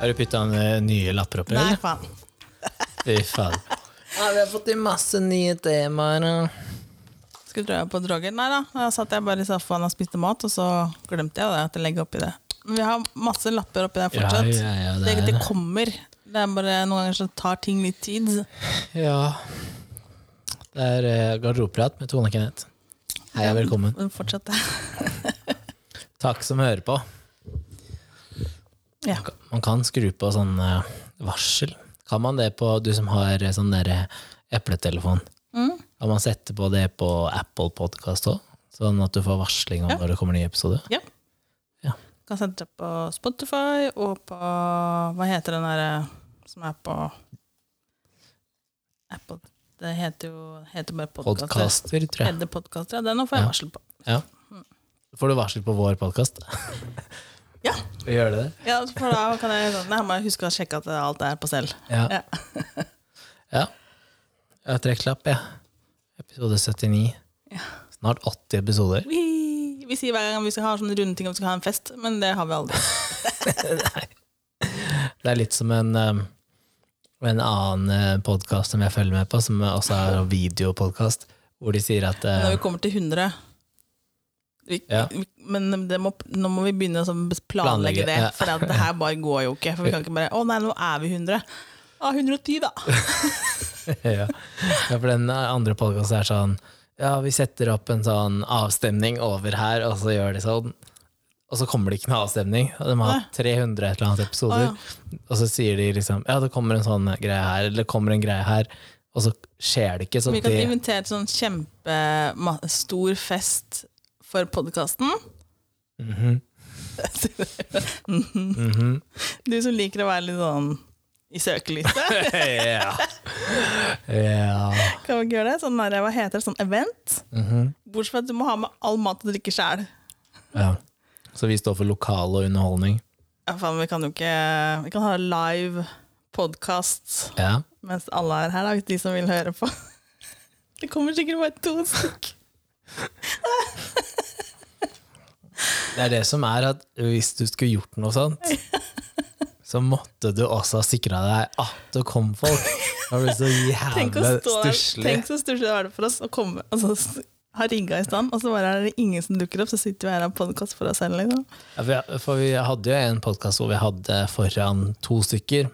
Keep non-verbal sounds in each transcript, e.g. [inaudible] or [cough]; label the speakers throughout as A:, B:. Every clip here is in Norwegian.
A: Har du putta nye lapper oppi?
B: Nei,
A: eller?
B: faen.
A: Fy faen. [laughs] Ja, vi har fått inn masse nye temaer. eh, og-
B: Skulle tro jeg var på droger. Nei da. Da satt jeg bare i sofaen og spiste mat, og så glemte jeg det. at jeg legger oppi det. Men Vi har masse lapper oppi der fortsatt.
A: Ja, ja, ja, det
B: det,
A: er
B: det
A: det.
B: kommer. Det er bare Noen ganger så tar ting litt tid.
A: Ja. Det er eh, garderobeprat med Tone Kenneth. Hei og velkommen.
B: Men fortsatt det.
A: Takk som hører på.
B: Ja.
A: Man kan skru på sånn eh, varsel. Kan man det på du som har eh, sånn der eh, epletelefon?
B: Mm.
A: Kan man sette på det på Apple Podcast òg? Sånn at du får varsling om
B: Ja.
A: når det kommer ny episode?
B: ja.
A: Ja.
B: Kan sende det på Spotify og på Hva heter den derre som er på Apple? Det heter jo heter bare podkaster.
A: Podkaster, tror jeg.
B: Hedde podkaster, ja. Den får jeg
A: Ja.
B: varsel på.
A: Ja. Får du varsel på vår podkast?
B: Ja.
A: Gjør det det?
B: Ja, for da kan jeg, sånn, nei, må jeg huske å sjekke at alt er på stell.
A: Ja.
B: Ja.
A: [laughs] ja. Jeg har trekklapp, jeg. Episode 79.
B: Ja.
A: Snart 80 episoder.
B: Vi, vi sier hver gang vi skal ha sånne runde ting om vi skal ha en fest, men det har vi aldri.
A: Det er litt som en, um, en annen podkast som jeg følger med på, som også er en videopodkast, hvor de sier at
B: Når
A: eh,
B: vi kommer til 100 vi,
A: Ja.
B: vi, Men det må, nå må vi begynne å sånn
A: Planlegge,
B: planlegge det,
A: ja.
B: for at det her bare går jo ikke. For vi kan ikke bare 'Å nei, nå er vi 100'. Ja, 110,
A: [laughs]
B: da.
A: ja. ja, for den andre podkasten er sånn Ja, vi setter opp en sånn avstemning over her, og så gjør de sånn. Og så kommer det ikke noe avstemning. og De har hatt 300 et eller annet episoder.
B: Å,
A: Og så sier de liksom Ja, det kommer en sånn greie her, eller det kommer en greie her. Og så skjer det ikke. Så
B: Vi kan
A: det,
B: invitere til sånn kjempestor fest for podkasten. [laughs]
A: Mhm.
B: Du som liker å være litt sånn i søkelyset.
A: [laughs] ja. ja.
B: Kan vi ikke gjøre det? Sånn der, hva heter det? Sånn event?
A: Mhm.
B: Bortsett fra at du må ha med all mat og drikke sjæl.
A: ja. Så vi står for lokal og underholdning.
B: Ja, faen, vi kan jo ikke Vi kan ha live podkast
A: Ja.
B: mens alle er her, da, hvis de som vil høre på. [laughs] Det kommer sikkert bare to stykk.
A: Det er det som er at hvis du skulle gjort noe sånt,
B: [laughs]
A: så måtte du også ha sikra deg at det kom folk. Det blir så
B: [laughs] Tenk å
A: jævlig
B: stå der.
A: stusslig.
B: Tenk så stusslig det var det for oss å komme altså, s- ha rigga i stand, og så bare er det ingen som dukker opp, så sitter vi her og har podkast for oss selv. Liksom.
A: Ja, for jeg- For vi hadde jo en podkast hvor vi hadde foran to stykker.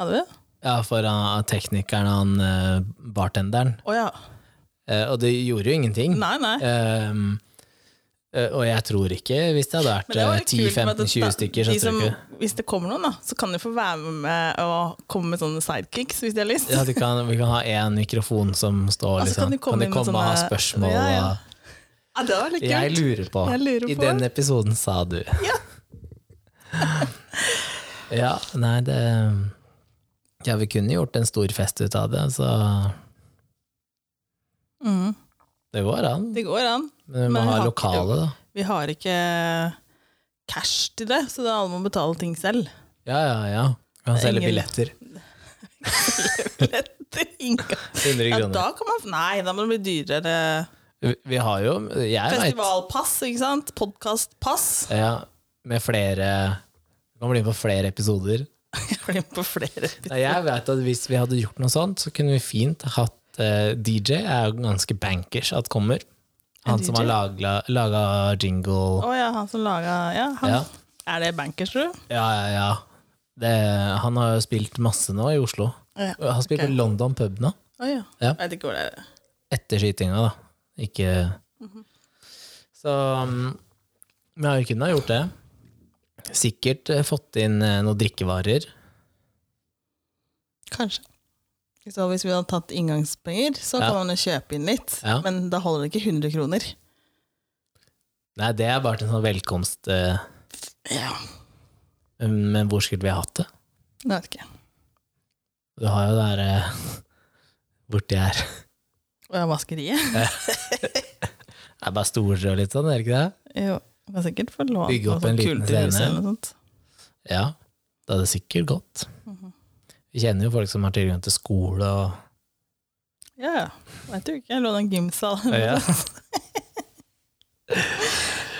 B: Hadde vi?
A: Ja, foran teknikeren og han eh, bartenderen.
B: Å ja.
A: Eh, Og det gjorde jo ingenting.
B: Nei, nei.
A: Ehm, eh, og jeg tror ikke, hvis det hadde vært
B: Men det var
A: eh,
B: litt kult med at det-
A: 10-15-20 stykker, så
B: de
A: tror
B: som,
A: jeg ikke
B: Hvis det kommer noen, da, så kan de få være med og komme med sånne sidekicks hvis de har lyst.
A: ja, de kan, Vi kan ha én mikrofon som står,
B: Altså,
A: liksom.
B: kan de komme
A: kan de
B: inn med
A: komme og ha
B: sånne-
A: spørsmål?
B: Ja, ja.
A: og-
B: Ja, det var litt kult.
A: Jeg lurer på.
B: Jeg lurer
A: I
B: på.
A: den episoden sa du.
B: Ja.
A: [laughs] ja, nei, det Ja, vi kunne gjort en stor fest ut av det, så
B: Mhm.
A: det går an.
B: Det går an.
A: Men vi
B: men
A: må
B: vi
A: ha
B: har ikke-
A: lokale, da.
B: Vi har ikke cash til det, så da alle må betale ting selv. [laughs]
A: Ja, ja, ja. Vi kan
B: Det er
A: selge
B: ingen-
A: billetter.
B: Billetter, inngang.
A: 100
B: Ja,
A: kroner.
B: da kan man Nei, da må det bli dyrere.
A: Vi- Vi har jo Jeg veit
B: Festivalpass, ikke sant? Podkastpass.
A: ja, Med flere Du kan bli med på flere episoder.
B: [laughs] Jeg blir med på flere.
A: Nei, Jeg vet at Hvis vi hadde gjort noe sånt, så kunne vi fint hatt eh, DJ. er jo ganske bankers at kommer. Han som har
B: DJ?
A: laga jingle.
B: Å ja, han som laga Ja, han.
A: Ja.
B: Er det bankers, tror du?
A: Ja, ja, ja. Det, han har jo spilt masse nå i Oslo.
B: Ja.
A: Han har spilt
B: ok.
A: på London pub nå,
B: Å ja.
A: Ja.
B: Jeg vet ikke hvor det er.
A: etter skytinga, da. Ikke
B: Mhm.
A: Så um, Men jeg kunne ha gjort det. Sikkert eh, fått inn eh, noen drikkevarer.
B: Kanskje. Så hvis vi hadde tatt inngangspenger, så
A: Ja.
B: kan man jo kjøpe inn litt.
A: Ja.
B: Men da holder det ikke 100 kroner.
A: Nei, det er bare til en sånn velkomst. eh,
B: Ja,
A: Men hvor skulle vi hatt det?
B: jeg vet ikke.
A: Du har jo det her eh, [laughs] borti her.
B: Og ja, vaskeriet.
A: Det er bare stoler og litt sånn, er det ikke det?
B: Jo, man kan sikkert få låne
A: Bygge opp
B: noe
A: en
B: sånt
A: liten
B: kulturhus
A: scene.
B: sånn eller noe sånt.
A: Ja, det hadde sikkert gått.
B: Mhm.
A: Vi kjenner jo folk som har tilgang til skole og
B: Ja, ja. Vet du ikke, jeg lå i en gymsal.
A: Ja.
B: [laughs]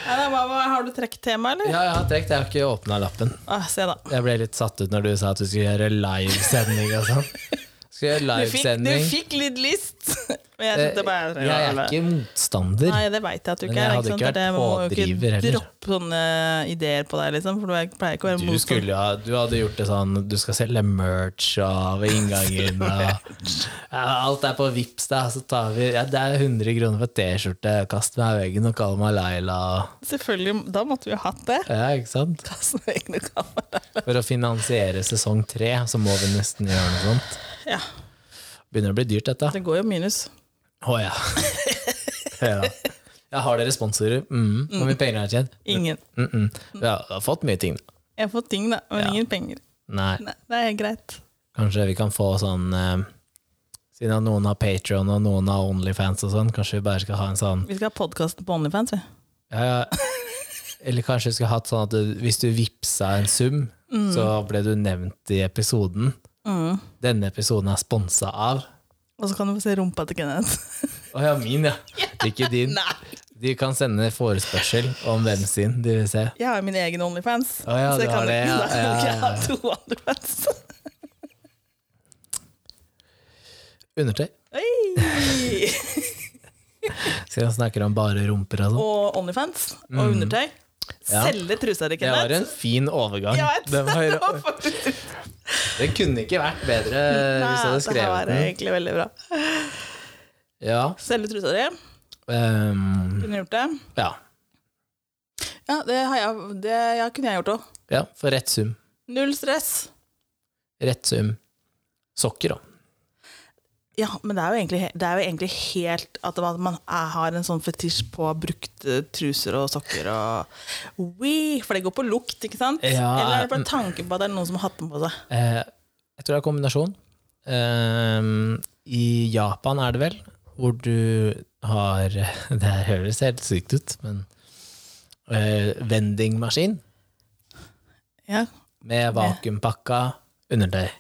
B: Nei, da, hva, hva- har du trekktema, eller?
A: Ja, jeg har trekt. Jeg har ikke åpna lappen.
B: Ah, se, da.
A: Jeg ble litt satt ut når du sa at du skulle gjøre livesending og sånn.
B: [laughs]
A: Skal gjøre
B: Du fikk, du
A: livesending.
B: fikk litt lyst! [laughs] Men jeg,
A: Eh,
B: tenkte bare,
A: Jeg er ikke motstander.
B: Nei, det veit jeg at du
A: Men
B: ikke
A: jeg
B: er.
A: hadde
B: sant?
A: ikke vært
B: Det er det, man må jo
A: pådriver heller.
B: Droppe sånne ideer på deg, liksom, for du er- pleier ikke å være
A: Du
B: motstander.
A: skulle jo ha Du hadde gjort det sånn Du skal selge merch av inngangen og ja, Alt er på Vipps da, så tar vi ja, Det er 100 kroner for T-skjorte, kast meg i veggen og kall meg Laila.
B: Selvfølgelig, da måtte vi jo hatt
A: [laughs]
B: det.
A: Ja, ikke sant?
B: Kassen og egne kamera.
A: For å finansiere sesong tre, så må vi nesten gjøre noe sånt.
B: Ja,
A: Begynner å bli dyrt, dette.
B: det går jo minus.
A: Å ja. ja. Ja, har dere sponsorer? Mm. Hvor mye penger har dere tjent?
B: Ingen.
A: Mm -mm. Vi har har fått mye ting. da.
B: Jeg har fått ting, da, men ingen penger.
A: Nei,
B: Nei, det er greit.
A: kanskje vi kan få sånn eh, Siden noen har Patron og noen har Onlyfans og sånn, kanskje vi bare skal ha en sånn
B: Vi skal ha podkasten på Onlyfans, vi.
A: ja, ja. [laughs] Eller kanskje vi skulle hatt sånn at du- hvis du vippsa en sum, så ble du nevnt i episoden.
B: Mm.
A: Denne episoden er sponsa av
B: Og så kan du få se rumpa til Kenneth.
A: [laughs] Å ja, min,
B: [laughs]
A: ja. Ikke din.
B: Nei,
A: De kan sende forespørsel om hvem sin de vil se.
B: jeg har jo min egen Onlyfans.
A: Å ja,
B: så
A: du
B: jeg kan
A: har det, ja,
B: ikke, [laughs] da kan
A: ja,
B: ikke
A: ja,
B: jeg ha to Onlyfans.
A: [laughs] Undertøy.
B: Oi!
A: Siden han snakker om bare rumper og sånn.
B: Og Onlyfans og undertøy.
A: Mm. Ja.
B: Selge trusa di,
A: Det var
B: Kenneth.
A: en fin overgang.
B: Jeg vet,
A: Det,
B: [laughs] det
A: var,
B: var
A: [laughs]
B: faktisk
A: det kunne ikke vært bedre hvis jeg hadde
B: Nei, det her var
A: skrevet den.
B: egentlig veldig bra.
A: Ja.
B: Selge trusa di.
A: ehm,
B: Kunne gjort det.
A: ja.
B: Ja, det, har jeg, det ja, kunne jeg gjort òg.
A: ja. For rett sum.
B: Null stress.
A: Rett sum. Sokker, da.
B: Ja, men det er jo egentlig, he- det er jo egentlig helt at man- man er, har en sånn fetisj på brukte truser og sokker og Ui, For det går på lukt, ikke sant?
A: Ja, mm.
B: Eller er det bare tanken på at det er noen som har hatt den på seg?
A: Eh, jeg tror det er kombinasjon. Ehm, I Japan er det vel, hvor du har [laughs] Det her høres helt sykt ut, men eh, vendingmaskin
B: Ja,
A: med vakuumpakka undertøy.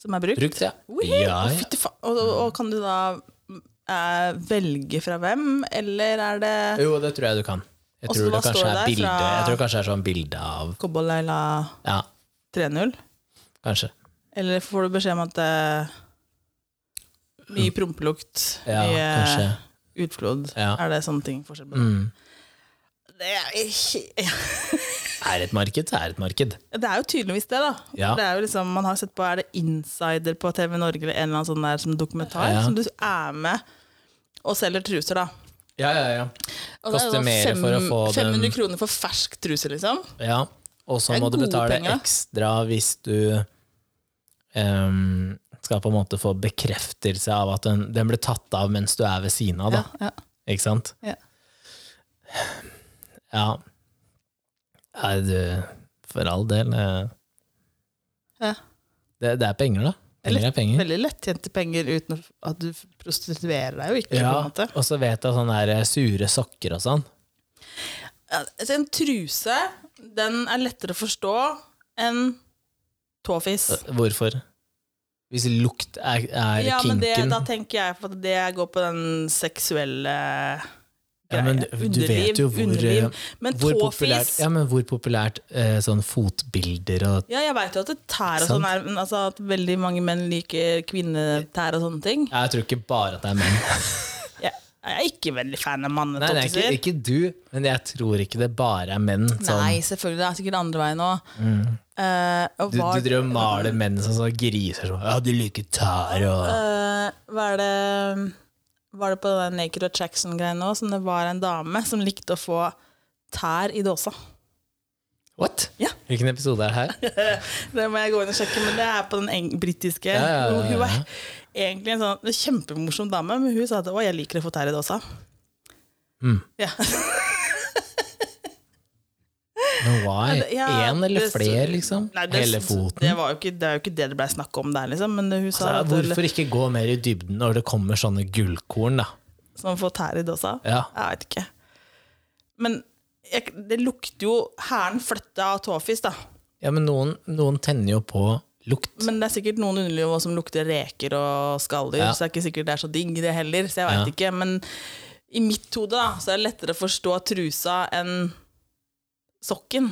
B: Som er brukt?
A: Brukt, ja.
B: Ui,
A: Ja,
B: å,
A: ja.
B: fytti fa- Og, og, og kan du da eh, velge fra hvem, eller er det
A: Jo, det tror jeg du kan. Jeg
B: Og
A: tror,
B: så
A: det
B: hva
A: kanskje
B: står
A: er
B: det der
A: bilde,
B: fra-
A: jeg tror kanskje det er sånn bilde av
B: Cowboyleila
A: Ja,
B: 3.0?
A: kanskje.
B: Eller får du beskjed om at eh, mye prompelukt,
A: Ja,
B: mye
A: kanskje.
B: utflod?
A: Ja.
B: Er det sånne ting forskjell på?
A: Mm.
B: Det, er,
A: Er et marked, så er et marked.
B: det er jo tydeligvis det, da.
A: Ja.
B: Det er jo liksom, man har sett på Er det Insider på TV Norge eller en eller annen sånn der som dokumentar?
A: Ja.
B: Som du er med og selger truser, da.
A: Ja, ja, ja.
B: Og det er
A: Koster
B: sånn
A: mer for å få den-
B: 500 kroner for fersk truse, liksom.
A: ja. Og så
B: Det er
A: må du
B: gode
A: betale
B: penger, da.
A: ekstra hvis du ehm, skal på en måte få bekreftelse av at den, den ble tatt av mens du er ved siden av, da.
B: Ja, ja.
A: Ikke sant?
B: Ja.
A: Ja. Nei, du For all del. eh,
B: Ja.
A: Det, det er penger, da. Penger er penger.
B: Veldig lettjente penger uten at du prostituerer deg jo ikke.
A: Ja,
B: på en måte.
A: og så vet jeg sånne her eh, sure sokker og sånn.
B: Ja, altså, en truse den er lettere å forstå enn tåfis.
A: Eh, Hvorfor? Hvis lukt er, er
B: Ja, men det,
A: kinken
B: da tenker jeg for at det går på den seksuelle
A: Ja, men
B: greia.
A: du- du vet jo hvor, eh,
B: underliv. Men
A: hvor populært,
B: tåfis
A: ja,
B: ja.
A: men hvor populært eh, sånn fotbilder og
B: jeg veit jo at det tær og
A: Sant.
B: sånn er men altså At veldig mange menn liker kvinnetær og sånne ting.
A: Jeg tror ikke bare at det er menn.
B: [laughs] Jeg jeg er ikke veldig fan av
A: Nei, det er ikke,
B: mannetåfiser.
A: ikke du, men jeg tror ikke det bare er menn. Sånn. Mm.
B: Nei, selvfølgelig. Det er sikkert andre veien òg. og
A: Du,
B: var-
A: du driver og maler menn som sånn griser sånn Ja, de liker tær og
B: Eh, var det Var det på den Naked Attraction-greia nå som det var en dame som likte å få tær i dåsa?
A: What?
B: Ja.
A: Hvilken episode er det
B: [laughs]
A: her?
B: Det må jeg gå inn og sjekke, men det er på den eng britiske.
A: Ja, ja, ja, ja.
B: Hun var egentlig en sånn kjempemorsom dame, men hun sa at 'å, jeg liker å få tær i dåsa'.
A: Mm.
B: Ja.
A: Men why?
B: det- ja,
A: Én eller
B: det-
A: flere, liksom?
B: Nei, det,
A: Hele foten?
B: Det, var jo ikke, det er jo ikke det det ble snakk om der, liksom. Men hun sa
A: Så
B: at
A: hvorfor ikke gå mer i dybden når det kommer sånne gullkorn, da?
B: som får tær i dåsa.
A: Ja.
B: Jeg veit ikke. Men jeg, det lukter jo hæren flytta av tåfis, da.
A: ja men noen, noen tenner jo på lukt.
B: Men det er sikkert noen underliv også som lukter reker og skalldyr,
A: Ja.
B: så det er ikke sikkert det er så digg, det heller. Så jeg veit
A: Ja.
B: ikke. Men I mitt hode da, så er det lettere å forstå trusa enn sokken.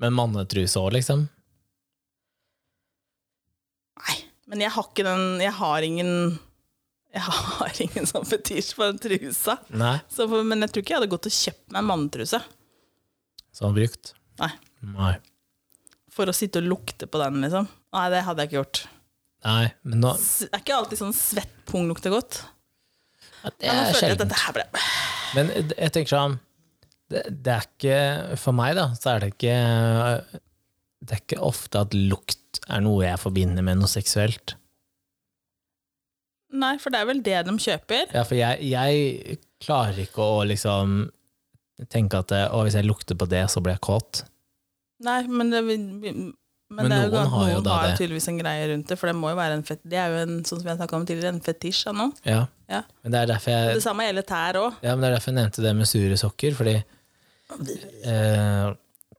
A: Men mannetruse òg, liksom?
B: Nei, men jeg har ikke den Jeg har ingen Jeg har [laughs] ingen sånn fetisj for en trusa.
A: Nei.
B: Så, for- men jeg tror ikke jeg hadde gått og kjøpt meg en mannetruse
A: Sånn brukt?
B: Nei.
A: Nei.
B: for å sitte og lukte på den, liksom. Nei, det hadde jeg ikke gjort.
A: Nei, men nå
B: S- Det er ikke alltid sånn svett pung lukter godt.
A: ja, Det
B: Men nå
A: er
B: føler jeg at
A: sjelden.
B: dette her ble
A: Men d- jeg tenker sånn det, det er ikke For meg, da, så er det ikke Det er ikke ofte at lukt er noe jeg forbinder med noe seksuelt.
B: Nei, for det er vel det de kjøper.
A: Ja, for jeg, jeg klarer ikke å liksom tenke at det, å, hvis jeg lukter på det, så blir jeg kåt.
B: Nei, men det vil-
A: Men
B: men, det er jo
A: noen
B: noen
A: har jo
B: noen
A: da
B: har jo
A: det.
B: tydeligvis en greie rundt det, for det må jo være en fet, det er jo en, sånn som jeg snakket om tidligere, en fetisj av noe.
A: Ja.
B: Ja.
A: Men det er derfor jeg
B: Det samme gjelder tær òg.
A: Ja, men Det er derfor jeg nevnte det med sure sokker. Fordi eh,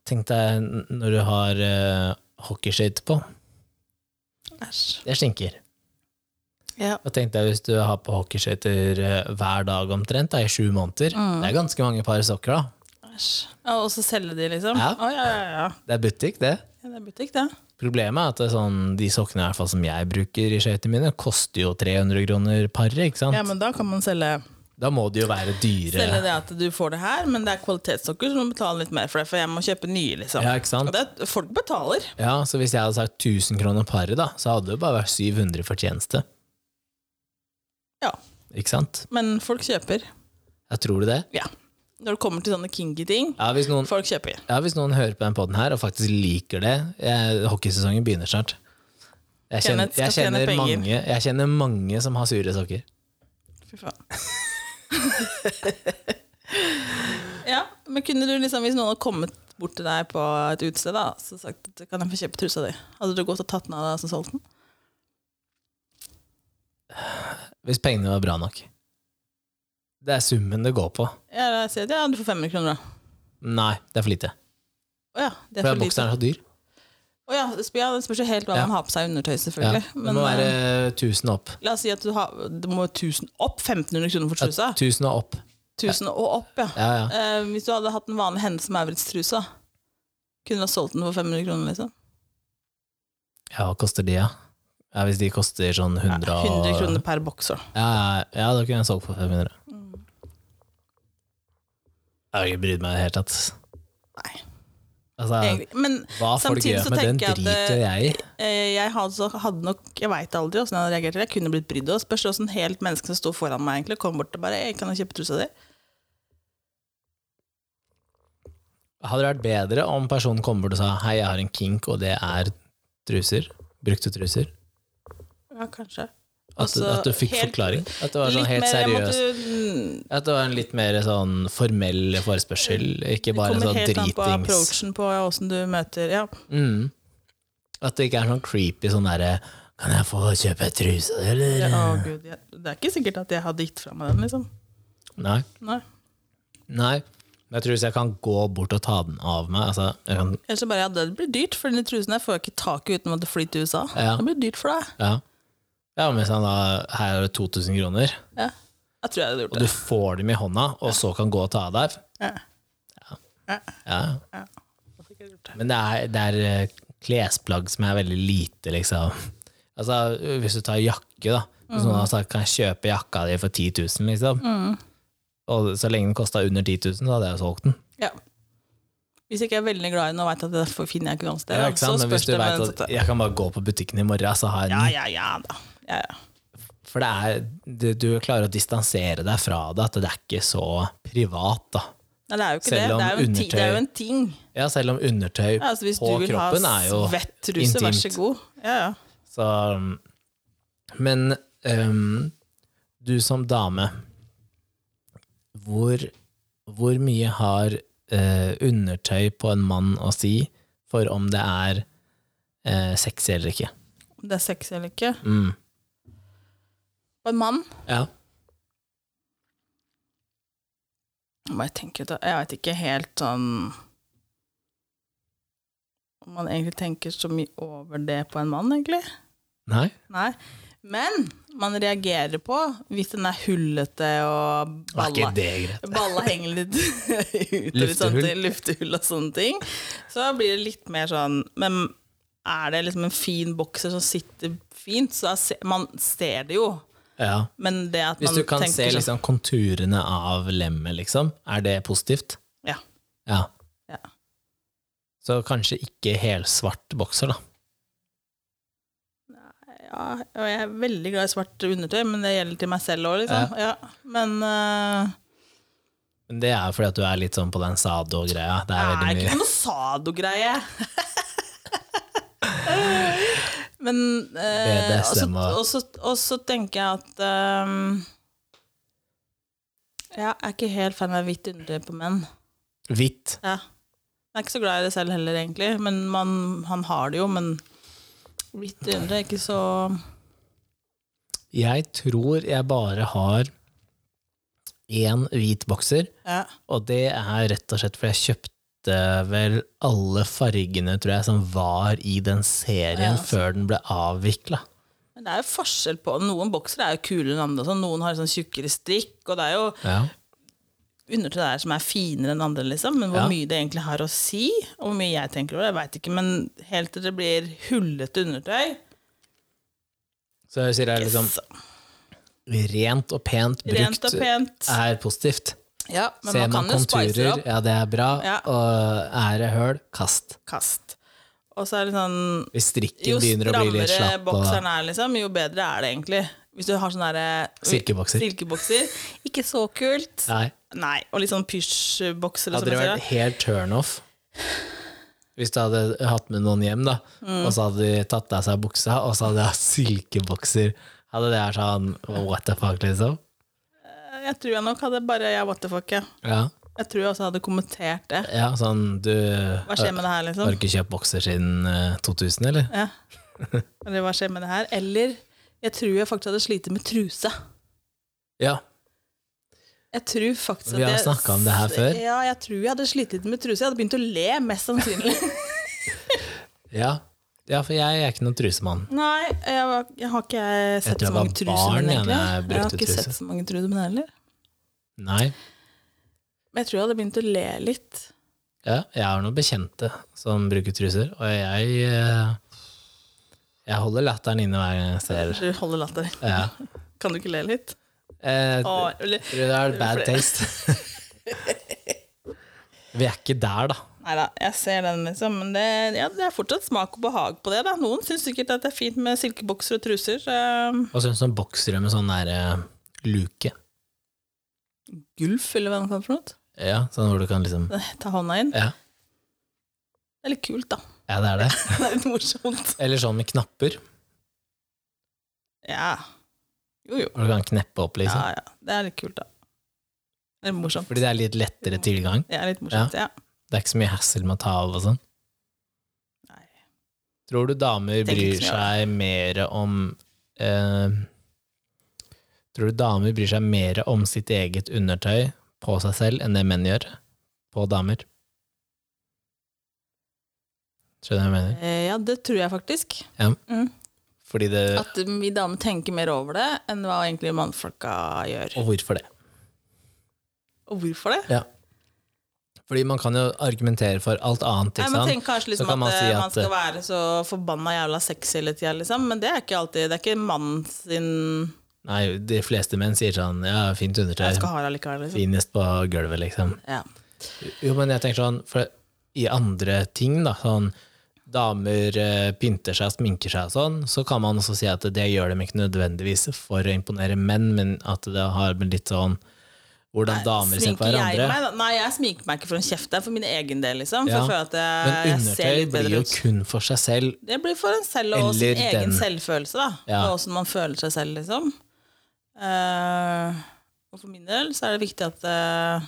A: Tenk deg n- når du har eh, hockeyskøyter på.
B: Æsj.
A: Det stinker.
B: Ja.
A: Og tenk deg hvis du har på hockeyskøyter eh, hver dag omtrent da, i sju måneder.
B: Mm.
A: Det er ganske mange par sokker, da.
B: Æsj. Ja, og så selge de, liksom?
A: Ja.
B: Å, ja, ja, ja.
A: Det er butikk, det.
B: ja. Det er butikk, det.
A: Problemet er at det er sånn, de sokkene i hvert fall som jeg bruker i skøytene mine, koster jo 300 kroner paret. ikke sant?
B: Ja, men da kan man selge,
A: Da må de jo være dyre.
B: selge det at du får det her, men det er kvalitetssokker, så du må betale litt mer for det, for jeg må kjøpe nye, liksom.
A: Ja, ikke sant?
B: Og det, folk betaler.
A: Ja, Så hvis jeg hadde sagt 1000 kroner paret, da, så hadde det jo bare vært 700 fortjeneste.
B: Ja.
A: Ikke sant?
B: Men folk kjøper.
A: Ja, tror du det?
B: Ja. Når det kommer til sånne kinky ting,
A: Ja, hvis noen,
B: folk kjøper.
A: ja, hvis noen hører på den podden her og faktisk liker det eh, Hockeysesongen begynner snart. Jeg kjenner,
B: Kenneth skal
A: jeg, kjenner
B: tjene penger.
A: mange, jeg kjenner mange som har sure sokker.
B: Fy
A: [laughs]
B: faen. ja, men kunne du liksom, hvis noen hadde kommet bort til deg på et utested, da, så sagt at kan jeg få kjøpe trusa di, hadde du gått og tatt den av deg som solgte den?
A: Hvis pengene var bra nok. Det er summen det går på.
B: Ja, da sier jeg at ja, du får 500 kroner, da.
A: Nei, det er for lite.
B: Å ja, det er
A: For
B: for lite.
A: bokseren er så dyr.
B: Å ja, det spør, ja, det spørs jo helt hva
A: Ja.
B: man har på seg i undertøy,
A: Ja.
B: selvfølgelig.
A: Det
B: Men
A: må være
B: eh,
A: 1000 opp.
B: la oss si at du har, det må 1000 opp 1500 kroner for
A: Ja,
B: trusa.
A: 1000 og opp.
B: 1000 og opp, ja.
A: Ja, ja.
B: Eh, hvis du hadde hatt en vanlig Hennes Maurits-truse, da, kunne du ha solgt den for 500 kroner, liksom?
A: ja hva koster de, ja? ja? Hvis de koster sånn 100
B: Ja,
A: og
B: 100 kroner per boks. da.
A: Ja, ja, ja, da kunne jeg solgt for 500.
B: Mm.
A: Jeg har ikke brydd meg i det hele tatt.
B: Nei.
A: Altså,
B: Egentlig. Men
A: hva folk
B: samtidig
A: gjør
B: så
A: med den,
B: tenker jeg at
A: driter jeg i.
B: eh, jeg hadde, så- hadde nok Jeg veit aldri åssen jeg hadde reagert. Jeg kunne blitt brydd. Og spørs det hvordan helt menneske som sto foran meg, egentlig kom bort og bare «Ei, 'Kan jeg kjøpe trusa di?'
A: Hadde det vært bedre om personen kom bort og sa hei, jeg har en kink, og det er truser? Brukte truser?
B: Ja, kanskje.
A: At,
B: Altså,
A: at du fikk
B: helt-
A: forklaring? At det var sånn
B: Litt
A: helt
B: mer, jeg mm,
A: seriøst?
B: måtte-
A: At det var en litt mer sånn formell forespørsel, ikke
B: Det
A: bare
B: kommer
A: sånn
B: helt an på
A: dritings?
B: approachen på åssen du møter Ja,
A: Mm. At det ikke er sånn creepy sånn derre Kan jeg få kjøpe truse, eller?
B: det, å, Gud, jeg, det er ikke sikkert at jeg hadde gitt fra meg den, liksom.
A: Nei.
B: Nei.
A: Nei. Men jeg tror hvis jeg kan gå bort og ta den av meg altså, jeg kan,
B: Ellers så bare ja, det blir dyrt, for den trusen her får jeg ikke tak i uten at det flyr til USA.
A: Ja.
B: Det blir dyrt for deg.
A: ja. ja, men hvis han da Her er det 2000 kroner,
B: Ja. Jeg tror jeg hadde gjort
A: og du
B: det.
A: får dem i hånda, og så kan gå og ta av deg
B: Ja. Ja.
A: ja.
B: Jeg tror jeg hadde gjort det.
A: Men det er, det er eh, klesplagg som er veldig lite, liksom. Altså, hvis du tar jakke, da. Hvis noen har sagt kan jeg kjøpe jakka di for 10 000, liksom.
B: Mm.
A: Og så lenge den kosta under 10 000, så hadde jeg jo solgt den.
B: Ja. Hvis jeg ikke er veldig glad i den og veit at det får- finner jeg ikke noe annet sted,
A: Ja, ikke sant?
B: så
A: Men hvis
B: spørs
A: du
B: det med
A: vet
B: den
A: at
B: satte.
A: jeg kan bare gå på butikken i morgen, så har jeg
B: Ja,
A: den.
B: ja, ja da. Ja, ja.
A: For det er, du, du klarer å distansere deg fra det, at det er ikke så privat, da.
B: Nei, det er jo ikke
A: Selv
B: det.
A: om
B: Det er jo en, ti,
A: undertøy-
B: det er jo en ting.
A: Ja, selv om undertøy
B: Ja, altså, hvis
A: på
B: du vil ha
A: kroppen er jo
B: svett truse, vær så
A: intimt.
B: god. Ja, ja.
A: så, um, Men um, du som dame, hvor, hvor mye har eh, undertøy på en mann å si for om det er eh, sexy eller ikke?
B: Om det er sexy eller ikke.
A: Mm.
B: Og en mann
A: Ja.
B: Jeg bare tenker ut at- Jeg veit ikke helt sånn Om man egentlig tenker så mye over det på en mann, egentlig.
A: Nei?
B: Nei. Men man reagerer på hvis den er hullete og
A: Var
B: balla,
A: ikke det greit?
B: balla henger litt [laughs] ut og litt
A: Luftehull.
B: sånne ting, luftehull og sånne ting, så blir det litt mer sånn Men er det liksom en fin bokser som sitter fint, så er, se- man ser det jo.
A: Ja.
B: Men det at
A: Hvis
B: man
A: du kan se
B: tenker sånn-
A: liksom, konturene av lemmet, liksom, er det positivt?
B: Ja.
A: Ja.
B: Ja.
A: Så kanskje ikke helsvart bokser, da. liksom.
B: ja, og jeg er veldig glad i svart undertøy, men det gjelder til meg selv òg, liksom. Ja. Men eh,
A: Men det er fordi at du er litt sånn på den sado-greia. Det er
B: Det er
A: veldig
B: ikke
A: mye
B: noe sado-greie. [laughs] Men eh, og så-
A: BDSM og-
B: og så- Og så tenker jeg at ehm, ja, Jeg er ikke helt fan av hvitt undertøy på menn.
A: hvitt.
B: Ja. Jeg er ikke så glad i det selv heller, egentlig. Men man, han har det jo, men hvitt undertøy er ikke så
A: Jeg tror jeg bare har én hvit bokser,
B: ja.
A: og det er rett og slett fordi jeg kjøpte vel alle fargene, tror jeg, som var i den serien
B: Ja.
A: før den ble avvikla.
B: Men det er jo forskjell på Noen boksere er jo kulere enn andre. og Sånn. Noen har sånn tjukkere strikk, og det er jo
A: Ja.
B: undertøy der som er finere enn andre, liksom. Men hvor
A: Ja.
B: mye det egentlig har å si, og hvor mye jeg tenker over det, jeg veit ikke. Men helt til det blir hullete undertøy
A: Så jeg sier det er liksom
B: yes,
A: rent og pent
B: Rent
A: brukt
B: og pent.
A: er positivt.
B: Ja, men
A: Ser
B: man
A: man
B: kan jo spice det
A: konturer,
B: opp.
A: ja, det er bra.
B: Ja.
A: Og er det høl, kast.
B: Kast. Og så er det sånn
A: Hvis
B: Jo
A: strikken begynner å bli litt
B: strammere
A: slapp og
B: bokseren er, liksom, jo bedre er det egentlig. Hvis du har sånne der,
A: Silkebokser.
B: silkebokser. Ikke så kult.
A: Nei,
B: Nei. Og litt sånn pysjbokser. sånn,
A: hadde det vært helt turnoff hvis du hadde hatt med noen hjem, da,
B: Mm.
A: og så hadde de tatt av seg buksa, og så hadde de hatt silkebokser, hadde det vært sånn what the fuck, liksom?
B: Jeg tror jeg nok hadde bare Jeg what the fuck, ja.
A: Ja,
B: Jeg tror jeg også hadde kommentert det.
A: ja sånn du
B: Hva
A: har
B: skjer med det her, liksom?
A: har ikke kjøpt bokser siden eh, 2000, eller?
B: Ja. Eller hva skjer med det her? Eller jeg tror jeg faktisk hadde slitt med truse.
A: Ja.
B: Jeg tror faktisk
A: Vi har
B: at jeg-
A: snakket om det her før.
B: Ja, jeg tror jeg hadde slitt med truse. Jeg hadde begynt å le, mest sannsynlig.
A: Ja, ja for jeg er ikke noen trusemann.
B: [laughs] Nei, jeg, var, jeg har ikke
A: Jeg tror
B: sett så
A: jeg var
B: mange truser,
A: barn
B: men
A: jeg,
B: egentlig.
A: da jeg
B: Jeg har
A: brukte
B: ikke
A: truse.
B: sett så mange truser, men heller.
A: Nei.
B: Men jeg tror jeg hadde begynt å le litt.
A: Ja, jeg har noen bekjente som bruker truser, og jeg eh, Jeg holder latteren inne hver gang jeg ser
B: Du holder latteren.
A: ja.
B: Kan du ikke le litt?
A: eh,
B: Å, eller,
A: tror Det er bad taste. [laughs] Vi er ikke der, da.
B: nei da, jeg ser den, liksom. Men det, ja, det er fortsatt smak og behag på det. da. Noen syns sikkert at det er fint med silkebokser og truser. eh,
A: Hva syns du om boksere med sånn der eh, luke?
B: Gulf, eller hva det er for noe.
A: Ja, sånn hvor du kan liksom
B: [laughs] Ta hånda inn.
A: Ja,
B: Det er litt kult, da. [laughs]
A: ja det er det.
B: Det er litt morsomt.
A: Eller sånn med knapper,
B: Ja. Jo, jo.
A: hvor du kan kneppe opp,
B: Ja,
A: liksom.
B: ja. Det er litt kult, da. Det er morsomt.
A: Fordi det er litt lettere tilgang.
B: Det er litt morsomt, ja.
A: Det er ikke så mye hassle med å ta av og sånn.
B: Nei.
A: Tror du damer
B: Tenker ikke
A: bryr
B: så mye
A: seg mer om eh, Tror du damer bryr seg mer om sitt eget undertøy på seg selv enn det menn gjør på damer? Skjønner du hva jeg mener?
B: Eh, ja, det tror jeg faktisk.
A: Fordi det
B: At vi damer tenker mer over det enn hva egentlig mannfolka gjør.
A: Og hvorfor det?
B: Og hvorfor det?
A: Fordi man kan jo argumentere for alt annet,
B: Nei,
A: ikke
B: man
A: sant?
B: tenker kanskje liksom
A: kan man
B: at,
A: si
B: eh,
A: at-
B: man skal være så forbanna jævla sexy hele tida, liksom. Men det er ikke alltid Det er ikke mannen sin
A: Nei, de fleste menn sier sånn Ja, fint
B: Jeg
A: undertøy.
B: skal ha det likevel, liksom.
A: Finest på gulvet, liksom.
B: Ja.
A: Jo, men jeg tenker sånn, for i andre ting da, sånn damer eh, pynter seg, sminker seg og sånn, så kan man også si at det gjør dem ikke nødvendigvis for å imponere menn, men at det har med litt sånn hvordan damer ser på
B: Sminker jeg
A: hverandre.
B: meg da? Nei, jeg sminker meg ikke for en kjeft. Det er for min egen del, liksom. For
A: Ja,
B: jeg føler at jeg,
A: Men
B: jeg ser
A: undertøy
B: litt
A: blir
B: bedre
A: jo
B: ut.
A: kun for seg selv.
B: Det blir for en selv og sin
A: Eller
B: egen
A: den.
B: selvfølelse, da.
A: Ja.
B: Og åssen man føler seg selv, liksom. Eh, og for min del så er det viktig at eh,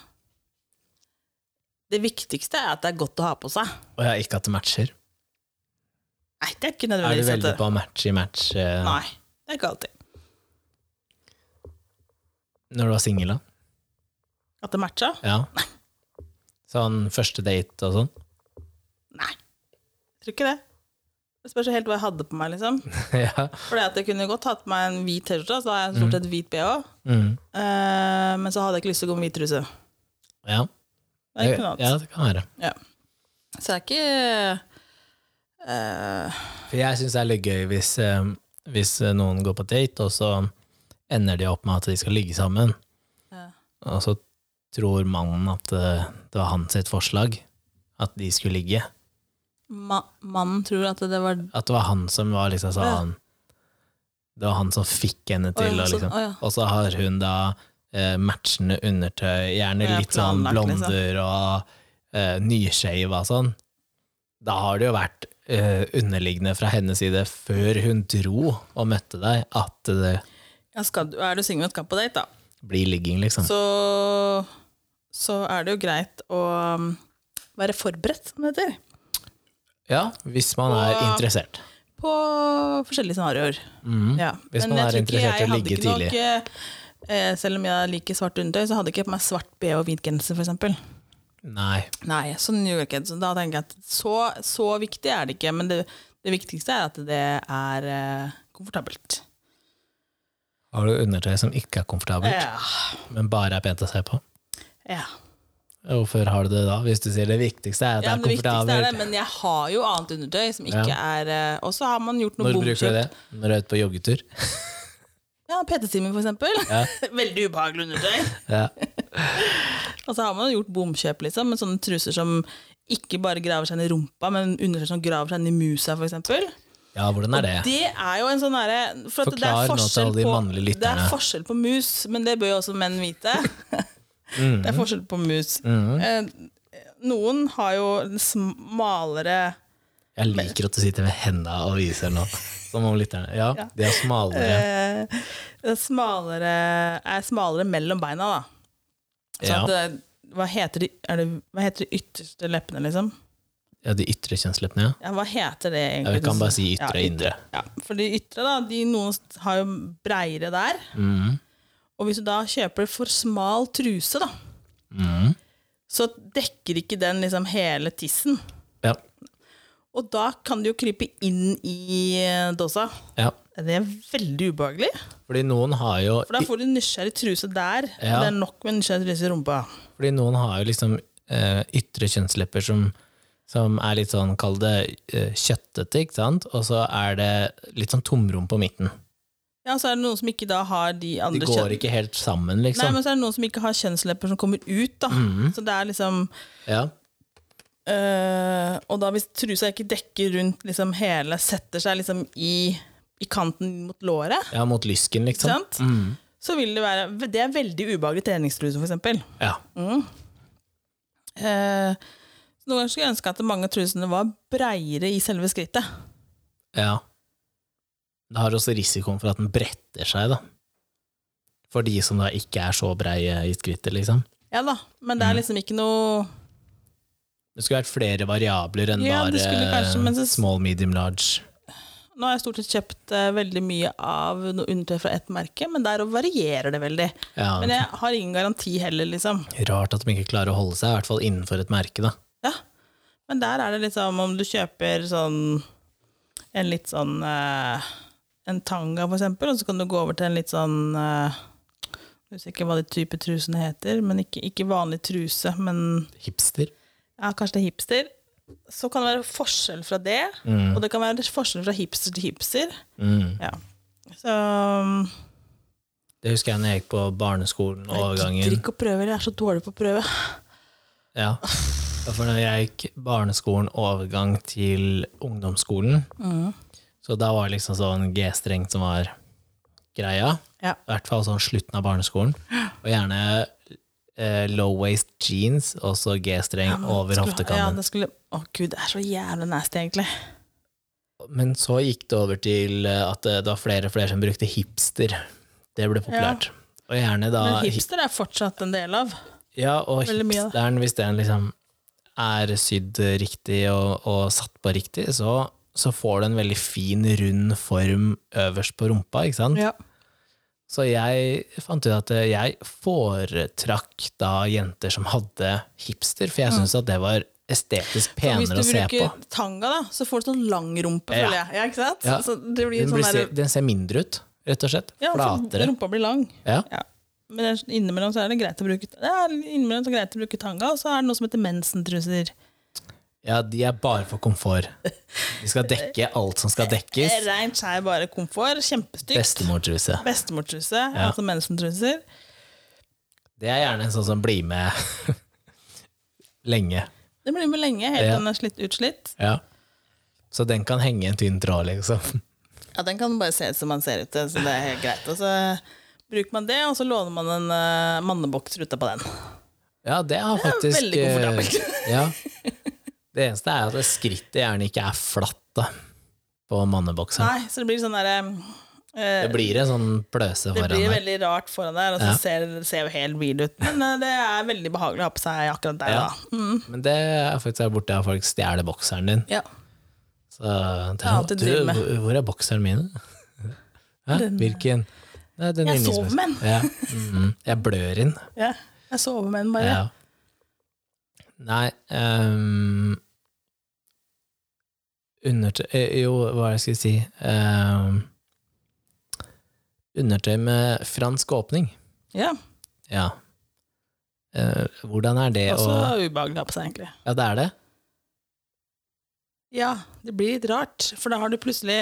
B: Det viktigste er at det er godt å ha på seg.
A: Og ja, ikke at det matcher.
B: Nei, det er
A: Er
B: ikke
A: du
B: nødvendigvis
A: veldig
B: at det,
A: på match i match eh,
B: Nei, det er ikke alltid.
A: når du var singel, da?
B: At det matcha?
A: Ja. Sånn [laughs] første date og sånn?
B: Nei. Jeg tror ikke det. Det spørs jo helt hva jeg hadde på meg.
A: [laughs]
B: liksom.
A: ja.
B: Fordi at Jeg kunne godt hatt på meg en hvit T-skjorte, så da har jeg stort sett hvit BH.
A: Mm.
B: Eh, men så hadde jeg ikke lyst til å gå med hvit truse.
A: ja.
B: Det er ikke noe
A: ja,
B: annet.
A: det kan være.
B: Så det er ikke eh,
A: For jeg syns det er litt gøy hvis, eh, hvis noen går på date, og så ender de opp med at de skal ligge sammen,
B: Ja.
A: og så tror mannen at eh, det var hans sitt forslag, at de skulle ligge.
B: ma Mannen tror at det var
A: At det var han som var liksom
B: Ja.
A: sånn Det var han som fikk henne til,
B: Å, ja,
A: og
B: sånn,
A: liksom
B: å, ja.
A: Og så har hun da eh, matchende undertøy, gjerne
B: Ja,
A: litt sånn
B: planlagt, liksom.
A: blonder og eh, nyskeiv og sånn. Da har det jo vært eh, underliggende fra hennes side før hun dro og møtte deg, at det
B: ja, skal, du- Er du singel og skal på date, da,
A: blir ligging, liksom.
B: så, så er det jo greit å um, være forberedt, som det heter,
A: Ja, hvis man er
B: Og-
A: interessert.
B: på forskjellige scenarioer.
A: Mhm.
B: Ja.
A: Hvis
B: men
A: man
B: jeg
A: er
B: tror ikke
A: interessert i
B: jeg
A: å
B: hadde
A: ligge
B: ikke nok, eh, selv om jeg liker svart undertøy, så hadde jeg ikke på meg svart BH og hvit genser, f.eks.
A: Nei.
B: Nei, sånn gjør jeg ikke. Så da tenker jeg at så, så viktig er det ikke, men det, det viktigste er at det er eh, komfortabelt.
A: Har du undertøy som ikke er komfortabelt,
B: Ja.
A: men bare er pent å se på?
B: ja.
A: Hvorfor har du det da, hvis du sier det viktigste er at
B: ja men
A: det
B: det
A: er
B: viktigste er det,
A: komfortabelt?
B: men jeg har jo annet undertøy som ikke er eh, Og så har man gjort noe
A: Når bruker du
B: bomkjøpt.
A: det? Når du er ute på joggetur?
B: Ja, PT-timen, for eksempel.
A: Ja.
B: [laughs] Veldig ubehagelig undertøy.
A: Ja.
B: Og så har man jo gjort bomkjøp, liksom, med sånne truser som ikke bare graver seg ned i rumpa, men undertøy som graver seg ned i musa, for eksempel.
A: ja, hvordan er det?
B: Det er jo en sånn derre for at det
A: Forklar
B: er
A: nå til
B: forskjell
A: alle de
B: på-
A: mannlige lytterne.
B: Det er forskjell på mus, men det bør jo også menn
A: [laughs]
B: vite. Det
A: Mm.
B: er forskjell på mus. Eh, noen har jo smalere
A: Jeg liker at du sitter med hendene og viser nå. Som om lytterne Ja, de er smalere.
B: eh, Smalere er smalere mellom beina, da. Så
A: Ja.
B: at det, hva, heter de, er det, hva heter de ytterste leppene, liksom?
A: Ja, de ytre kjønnsleppene, ja.
B: Ja, hva heter det
A: ja.
B: egentlig?
A: Vi kan bare si ytre og
B: Ja,
A: indre.
B: Ja, for de ytre, da, de noen har jo breiere der.
A: Mhm.
B: Og hvis du da kjøper for smal truse, da,
A: Mhm.
B: så dekker ikke den liksom hele tissen.
A: Ja.
B: Og da kan du jo krype inn i eh, dåsa.
A: ja.
B: Det er veldig ubehagelig.
A: Fordi noen har jo
B: For da får du nysgjerrig truse der,
A: Ja.
B: og det er nok med nysgjerrig truse i rumpa.
A: Fordi noen har jo liksom eh, ytre kjønnslepper som, som er litt sånn, kall det eh, kjøttete, ikke sant? Og så er det litt sånn tomrom på midten.
B: Ja, så er det noen som ikke da har de
A: De
B: andre
A: går ikke helt sammen,
B: Nei,
A: liksom. Mm.
B: men så er det noen som ikke har kjønnslepper som kommer ut, da. Så det er liksom
A: Ja.
B: øh, Og da hvis trusa ikke dekker rundt liksom hele, setter seg liksom i, i kanten mot låret,
A: ja, mot lysken,
B: ikke
A: liksom.
B: sant? så vil det være Det er veldig ubehagelig treningstruse, for eksempel.
A: Ja.
B: Mm. Eh, så noen ganger skulle jeg ønske at mange av trusene var breiere i selve skrittet.
A: Ja. Det har også risikoen for at den bretter seg, da. For de som da ikke er så breie i skrittet, liksom.
B: Ja da, men det er liksom ikke noe
A: Det skulle vært flere variabler enn
B: Ja,
A: bare
B: det skulle kanskje, men så-
A: small, medium, large.
B: Nå har jeg stort sett kjøpt eh, veldig mye av noe undertøy fra ett merke, men der også varierer det veldig.
A: Ja,
B: Men jeg har ingen garanti heller, liksom.
A: Rart at de ikke klarer å holde seg, i hvert fall innenfor et merke, da.
B: Ja. Men der er det liksom om du kjøper sånn en litt sånn eh, En tanga, for eksempel, og så kan du gå over til en litt sånn eh, Jeg husker ikke hva de type trusene heter, men ikke, ikke vanlig truse, men
A: Hipster.
B: ja, kanskje det er hipster. Så kan det være forskjell fra det, og det kan være forskjell fra hipster til hipster.
A: Mm.
B: Ja. Så um,
A: Det husker jeg når jeg gikk på barneskolen,
B: Jeg gidder
A: overgangen.
B: ikke å prøve, jeg er så dårlig på å prøve.
A: Ja. Ja, For når jeg gikk barneskolen, overgang til ungdomsskolen,
B: Mm.
A: så da var det liksom sånn G-streng som var greia.
B: Ja.
A: I hvert fall sånn slutten av barneskolen. Og gjerne eh, low-waist jeans, og så G-streng over
B: Skulle- Ja,
A: hoftekammen.
B: det skulle, å gud, det er så jævlig nasty, egentlig.
A: Men så gikk det over til eh, at det det var flere og flere som brukte hipster. Det ble populært. Og gjerne da
B: Men hipster er fortsatt en del av.
A: Ja, og
B: Veldig mye, da.
A: hipsteren, hvis den liksom er sydd riktig og, og satt på riktig, så, så får du en veldig fin, rund form øverst på rumpa, ikke sant?
B: Ja.
A: Så jeg fant ut at jeg foretrakk da jenter som hadde hipster, for jeg syntes at det var estetisk
B: Og Hvis
A: penere
B: du
A: å se på.
B: bruker tanga, da, så får du sånn lang rumpe,
A: Ja.
B: føler jeg. Ja, ikke sant?
A: Ja.
B: Så det blir
A: Den,
B: sånn
A: blir se,
B: der,
A: den ser mindre ut, rett og slett.
B: ja, for
A: Flatere.
B: rumpa blir lang.
A: Ja.
B: Ja. Men det er- innimellom så er det greit å bruke det er innimellom så er det greit å bruke tanga, og så er det noe som heter mensentruser.
A: ja, de er bare for komfort. De skal dekke alt som skal
B: [laughs] Det
A: dekkes.
B: er Rent skjær, bare komfort. Kjempestygt.
A: Bestemortruse.
B: Bestemortruse, altså mensentruser.
A: Det er gjerne en sånn som blir med [laughs] lenge.
B: Det blir med lenge, helt til
A: Ja.
B: den er slitt utslitt.
A: Ja. Så den kan henge i en tynn tråd, liksom.
B: Ja, den kan bare se ut som man ser ut til, så det er helt greit. Og så bruker man det, og så låner man en eh, manneboks ruta på den.
A: Ja, det er faktisk
B: veldig komfortabelt.
A: eh, Ja. Det eneste er at skrittet gjerne ikke er flatt da, på mannebokseren.
B: Nei, så det blir sånn eh, derre
A: Det blir en sånn pløse
B: Det
A: foran
B: blir
A: der.
B: veldig rart foran der, og så
A: Ja.
B: ser det ser jo helt hvil ut. Men eh, det er veldig behagelig å ha på seg akkurat der,
A: Ja.
B: da. Mm.
A: Men det er faktisk der borte at folk stjeler bokseren din.
B: Ja.
A: Så det
B: er
A: er,
B: alltid
A: du,
B: driv med.
A: hvor- hvor er bokseren min? [laughs] Hæ?
B: Den-
A: Hvilken? Nei, den
B: Jeg
A: inni
B: sover med den.
A: spisen. Ja. Mhm. Jeg blør inn.
B: ja. Jeg sover med den bare.
A: Ja. Nei ehm, Undertøy eh, Jo, hva er det jeg skulle si Ehm, Undertøy med fransk åpning.
B: Ja.
A: Ja. Eh, hvordan er det
B: Også
A: å
B: ubehagelig å ha på seg, egentlig.
A: Ja, det er det?
B: Ja, det blir litt rart, for da har du plutselig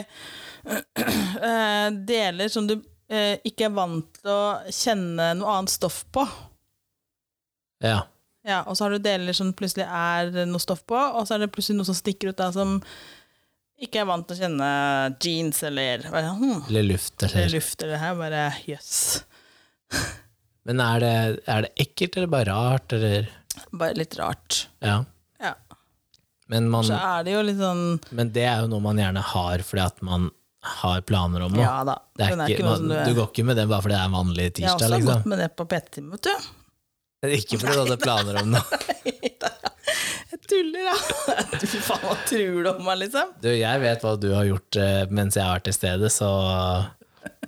B: [clears throat] eh, deler som du eh, ikke er vant til å kjenne noe annet stoff på.
A: Ja.
B: Ja, og så har du deler som plutselig er noe stoff på, og så er det plutselig noe som stikker ut da, som ikke er vant til å kjenne jeans eller hva er det? hmm,
A: Eller luft,
B: eller
A: eller
B: luft eller det her. Bare jøss.
A: Men er det, er det ekkelt, eller bare rart, eller
B: Bare litt rart.
A: Ja.
B: Ja.
A: Men, man,
B: Så er det jo litt sånn
A: men det er jo noe man gjerne har fordi at man har planer om noe.
B: Ja da.
A: det er
B: den
A: ikke,
B: er ikke noe som
A: man,
B: du
A: du går ikke med den bare fordi det er en vanlig
B: Jeg
A: tirsdag,
B: har også
A: liksom.
B: gått med det på PT-time, vet du.
A: Ikke fordi du hadde planer om noe.
B: Jeg tuller, da. [laughs] Du, Fy faen, hva tror du om meg, liksom?
A: Du, jeg vet hva du har gjort eh, mens jeg har vært til stede, så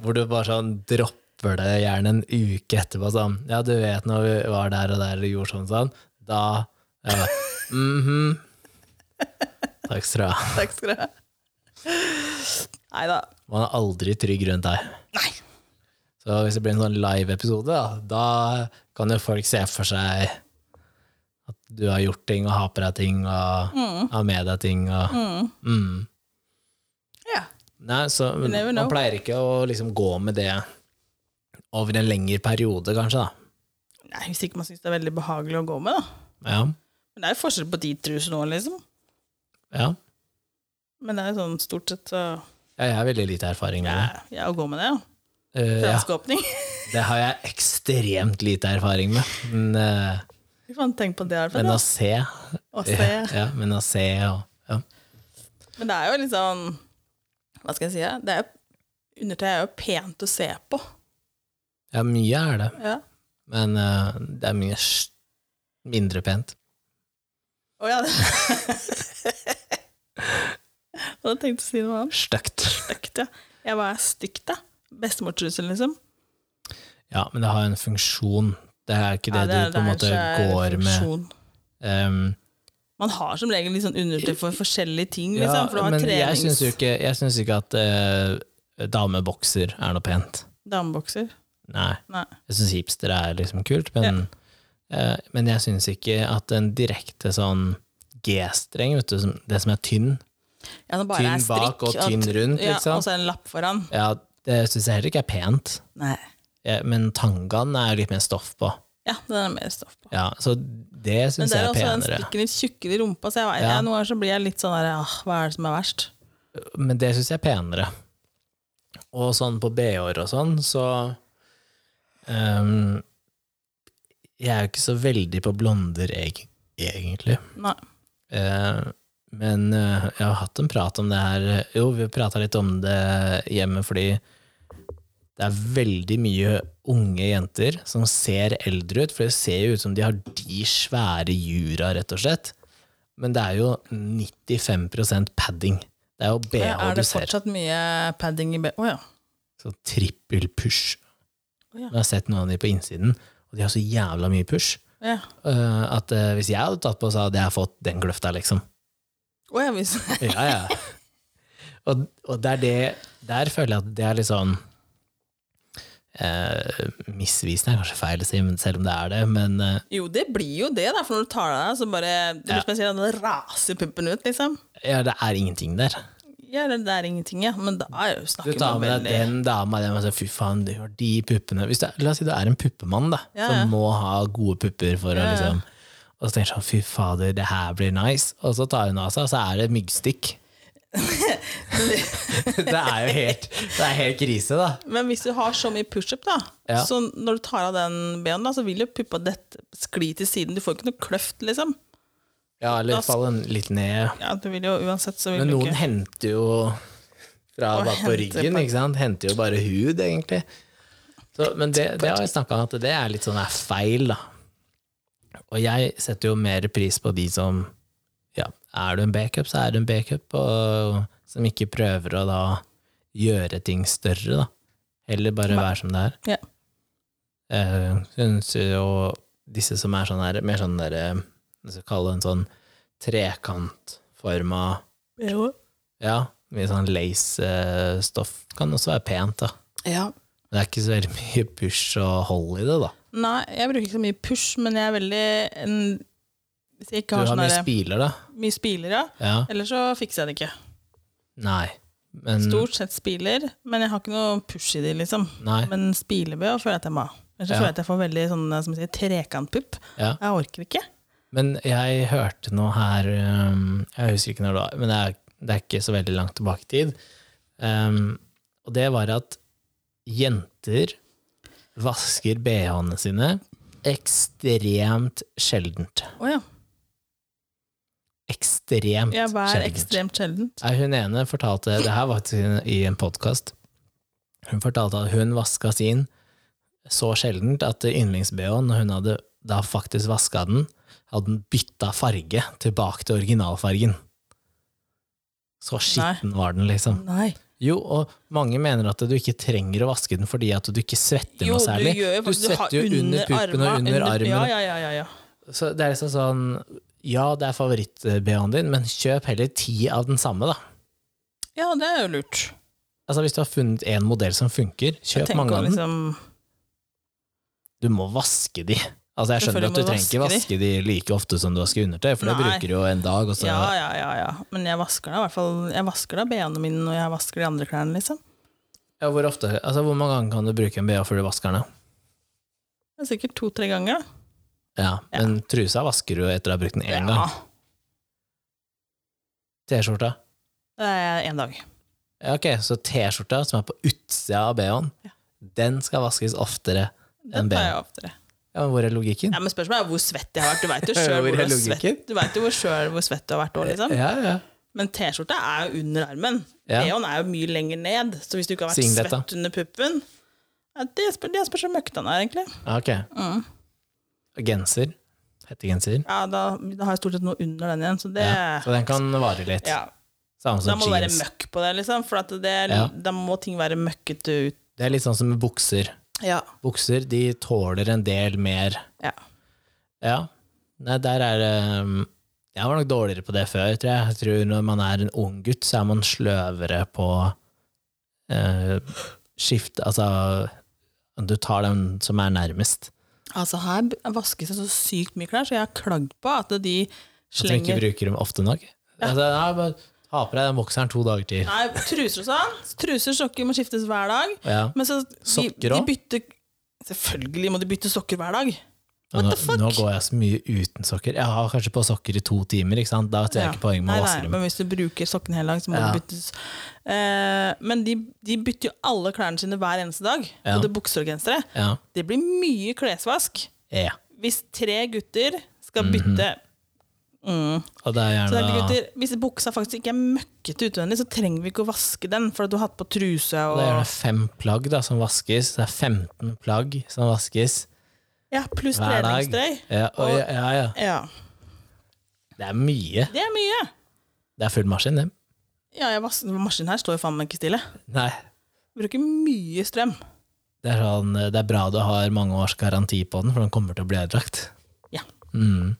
A: Hvor du bare sånn dropper det gjerne en uke etterpå sånn Ja, du vet når vi var der og der og gjorde sånn sånn, da ja, mhm. Takk skal du ha.
B: Takk skal du ha. Nei da.
A: Man er aldri trygg rundt deg.
B: Nei.
A: Så hvis det blir en sånn live-episode, da, da kan jo folk se for seg at du har gjort ting og har på deg ting og
B: Mm,
A: har med deg ting og mm.
B: Ja.
A: Nei, så
B: never
A: man
B: know.
A: pleier ikke å liksom gå med det over en lengre periode, kanskje, da.
B: Nei, Hvis ikke man syns det er veldig behagelig å gå med, da.
A: Ja.
B: Men det er jo forskjell på de trusene nå, liksom.
A: ja.
B: Men det er jo sånn stort sett så
A: Ja, Jeg har veldig lite erfaring med det.
B: ja, ja, å gå med det, ja.
A: Eh, ja,
B: Fransk åpning.
A: det har jeg ekstremt lite erfaring med. Men, eh,
B: [laughs] Fy faen, tenk på det, i hvert fall.
A: men å
B: da.
A: se
B: Å
A: Ja,
B: se.
A: ja, men å se og ja.
B: Men det er jo litt sånn Hva skal jeg si? da? Det er, jo- undertøy er jo pent å se på.
A: ja, mye er det.
B: Ja.
A: Men eh, det er mye s- mindre pent.
B: Å ja, [laughs] det Jeg hadde tenkt å si noe annet.
A: Stygt.
B: Stygt, ja. Jeg var stygt, da. Bestemortrussel, liksom.
A: Ja, men det har en funksjon. Det er ikke det,
B: Ja, er-
A: du på en
B: er
A: måte
B: skjær
A: går med.
B: funksjon.
A: Um,
B: Man har som regel litt sånn undertøy for forskjellige ting, liksom.
A: Ja,
B: for du har
A: men jeg
B: trenings...
A: syns jo ikke, jeg syns ikke at eh, damebokser er noe pent.
B: Damebokser.
A: Nei.
B: Nei.
A: Jeg syns hipster er liksom kult, men, eh, men jeg syns ikke at en direkte sånn G-streng, vet du, som- det som er tynn,
B: Ja, det bare
A: tynn
B: er strikk,
A: bak og tynn rundt,
B: Ja,
A: liksom,
B: altså- og så er det en lapp foran.
A: ja, det syns jeg heller ikke er pent.
B: Nei.
A: Eh, Men tangaen er litt mer stoff på.
B: Ja, den er mer stoff på.
A: Ja, så det
B: Men
A: syns
B: det
A: jeg
B: er
A: er
B: også den
A: penere.
B: stikken litt tjukkere i rumpa, så jeg vet,
A: Ja.
B: jeg, noen ganger så blir jeg litt sånn der ah, Hva er det som er verst?
A: Men det syns jeg er penere. Og sånn på BH-er og sånn, så ehm, Jeg er jo ikke så veldig på blonder, eg egentlig.
B: Nei.
A: Eh, men eh, jeg har hatt en prat om det her Jo, vi prata litt om det hjemme fordi det er veldig mye unge jenter som ser eldre ut, for det ser jo ut som de har de svære jura, rett og slett. Men det er jo 95 padding. Det er jo BH
B: er
A: du
B: det
A: ser.
B: fortsatt mye padding i B... Å ja.
A: Så trippel push.
B: Å ja.
A: Jeg har sett noen av de på innsiden, og de har så jævla mye push.
B: Ja.
A: Eh, at eh, hvis jeg hadde tatt på, så hadde jeg fått den kløfta, liksom.
B: Å, ja, hvis, [laughs]
A: Ja, ja. [laughs] Og, og det er det Der føler jeg at det er litt sånn eh, Misvisende er kanskje feil å si, men selv om det er det, men eh,
B: jo, det blir jo det, da, for når du tar deg av, så bare Det blir
A: Ja.
B: som jeg sier, da raser puppen ut, liksom.
A: ja, det er ingenting der.
B: Ja, det, det er ingenting, ja. Men da er jo
A: Du
B: snakker
A: tar med deg den dama den, og så, Fy faen, du har de puppene Hvis du, er- La oss si du er en puppemann da
B: Ja, ja.
A: Som må ha gode pupper for å
B: Ja, ja.
A: liksom Og så tenker jeg sånn, fy fader, det her blir nice Og så tar hun av seg, og så er det myggstikk
B: [laughs]
A: [laughs] Det er jo helt Det er helt krise da
B: Men hvis du har så mye pushup, da,
A: Ja.
B: så når du tar av den benen, da, så vil jo puppa dette skli til siden. Du får ikke noe kløft, liksom.
A: Ja, eller i
B: Da
A: hvert fall en litt ned
B: Ja, du vil jo uansett så vil
A: Men
B: du
A: noen
B: ikke
A: henter jo Fra
B: Og
A: bak på
B: henter
A: ryggen,
B: på-
A: ikke sant? Henter jo bare hud egentlig så, Men det, det har jeg snakket om at det er litt sånn er feil da Og jeg setter jo mer pris på de som ja, er du en backup, så er du en backup, og som ikke prøver å da gjøre ting større, da. Heller bare
B: Nei.
A: være som det er.
B: Ja.
A: Eh, synes jo disse som er sånn her, mer sånn derre Hva skal jeg kalle det, en sånn trekantforma
B: Jo.
A: Ja, mye sånn lace-stoff. Kan også være pent, da.
B: Ja.
A: Men det er ikke så veldig mye push og hold i det, da.
B: Nei, jeg bruker ikke så mye push, men jeg er veldig en, Hvis jeg
A: Du
B: ikke har,
A: har
B: sånn
A: mye
B: derre-
A: spiler, da.
B: mye spiler, ja.
A: Ja.
B: Ellers så fikser jeg det ikke.
A: Mm. Nei. Men
B: Stort sett spiler, men jeg har ikke noe push i de, liksom.
A: Nei.
B: Men spilebøy føler jeg at jeg må ha. Ellers så
A: Ja.
B: føler jeg at jeg får veldig sånn som jeg sier, trekantpupp.
A: Ja.
B: Jeg orker ikke.
A: Men jeg hørte noe her um, Jeg husker ikke når det var, men det er, det er ikke så veldig langt tilbake i tid. Um, og det var at jenter vasker bh-ene sine ekstremt sjeldent.
B: Å ja.
A: Ekstremt
B: Jeg er
A: sjeldent.
B: ekstremt sjelden.
A: Nei, hun ene fortalte Det her var faktisk i en- i en podkast. Hun fortalte at hun vaska sin så sjeldent at yndlings-BH-en, når hun hadde da faktisk vaska den, hadde den bytta farge tilbake til originalfargen. Så skitten var den, liksom.
B: Nei.
A: Jo, og mange mener at du ikke trenger å vaske den fordi at du ikke svetter noe særlig.
B: gjør jo
A: Du
B: faktisk- har
A: svetter jo under puppen og
B: arma,
A: under armen.
B: Ja, ja, ja, ja, ja.
A: Så det er liksom sånn Ja, det er favoritt-BH-en din, men kjøp heller ti av den samme, da.
B: ja, det er jo lurt.
A: Altså Hvis du har funnet en modell som funker,
B: Jeg
A: kjøp
B: tenker
A: mange av
B: å
A: dem.
B: liksom
A: Du må vaske de. Altså Jeg skjønner
B: Selvfølgelig
A: at du
B: må du
A: trenger ikke
B: vaske
A: vaske de like ofte som du vasker undertøy, for det
B: Nei.
A: bruker du jo en dag. Og så,
B: Ja, ja, ja, ja. Men jeg vasker da i hvert fall Jeg vasker da BH-ene mine når jeg vasker de andre klærne, liksom.
A: Ja, hvor, ofte, altså, hvor mange ganger kan du bruke en BH før du vasker den?
B: Det er sikkert to-tre ganger, da.
A: Ja, Men trusa vasker du etter å ha brukt den én gang. T-skjorta.
B: Det er én dag.
A: Ja, ok, Så T-skjorta som er på utsida av BH-en,
B: Ja.
A: den skal vaskes oftere.
B: Det
A: En
B: tar
A: BH.
B: jeg oftere.
A: Ja, men Hvor er logikken?
B: Ja, men spørsmålet er hvor svett jeg har vært. Du veit jo
A: [laughs] Hvor
B: sjøl
A: er
B: hvor, du har
A: logikken?
B: svett- du vet jo hvor, selv hvor svett du har vært òg, liksom.
A: Ja, ja.
B: Men T-skjorta er jo under armen.
A: Ja.
B: BH-en er jo mye lenger ned, så hvis du ikke har vært
A: Singlet, da.
B: svett under puppen ja, Det spør- det spørs hvor møkta den er, egentlig.
A: Ja, Ok.
B: Mm.
A: Genser. Hettegenser.
B: Ja, da, da har jeg stort sett noe under den igjen, så det
A: Ja. Så den kan vare litt.
B: ja.
A: Samme
B: Da
A: som
B: må det være
A: jeans.
B: møkk på det, liksom. For at det,
A: Ja.
B: da må ting være møkkete ut.
A: Det er litt sånn som med bukser.
B: Ja.
A: Bukser de tåler en del mer.
B: Ja.
A: Ja. Nei, der er det um, Jeg var nok dårligere på det før, tror jeg. Jeg tror Når man er en ung gutt, så er man sløvere på eh, skift Altså, du tar den som er nærmest.
B: Altså, her b- vaskes det så sykt mye klær, så jeg har klagd på at de
A: At du ikke
B: slenger
A: bruker dem ofte nok. Altså, nei, bare ha på deg den bokseren to dager til.
B: Nei, truser og sånn. Truser og sokker må skiftes hver dag.
A: Ja.
B: Men så de,
A: Sokker
B: de
A: også?
B: bytter Selvfølgelig må de bytte sokker hver dag.
A: Og
B: What
A: Nå,
B: the fuck?
A: nå går jeg så mye uten sokker. Jeg har kanskje på sokker i to timer, ikke sant? da ser jeg
B: Ja.
A: ikke poenget med
B: Nei,
A: å
B: nei,
A: vaske dem.
B: Men hvis du bruker sokkene hele dag, så må
A: Ja.
B: det byttes. Eh, men de, de bytter jo alle klærne sine hver eneste dag.
A: Ja.
B: Både bukser og gensere.
A: Ja. E.
B: Det blir mye klesvask
A: Ja.
B: hvis tre gutter
A: Mhm.
B: skal bytte mm.
A: Og det er
B: Så det er
A: gjerne
B: ikke gutter, Hvis buksa faktisk ikke er møkkete utvendig, så trenger vi ikke å vaske den, for at du har hatt på truse
A: Og
B: og
A: Det er gjerne fem plagg da, som vaskes. Det er 15 plagg som vaskes
B: ja, Pluss
A: hver dag.
B: treningstøy.
A: Ja, og,
B: Og-
A: ja, ja, ja.
B: Ja.
A: Det er mye.
B: Det er mye.
A: Det er full maskin, det.
B: Ja, jeg vas- Maskinen her står jo faen meg ikke stille.
A: Nei,
B: Bruker mye strøm.
A: eh, det er, sånn, det er bra du har mange års garanti på den, for den kommer til å bli ødelagt. Mm.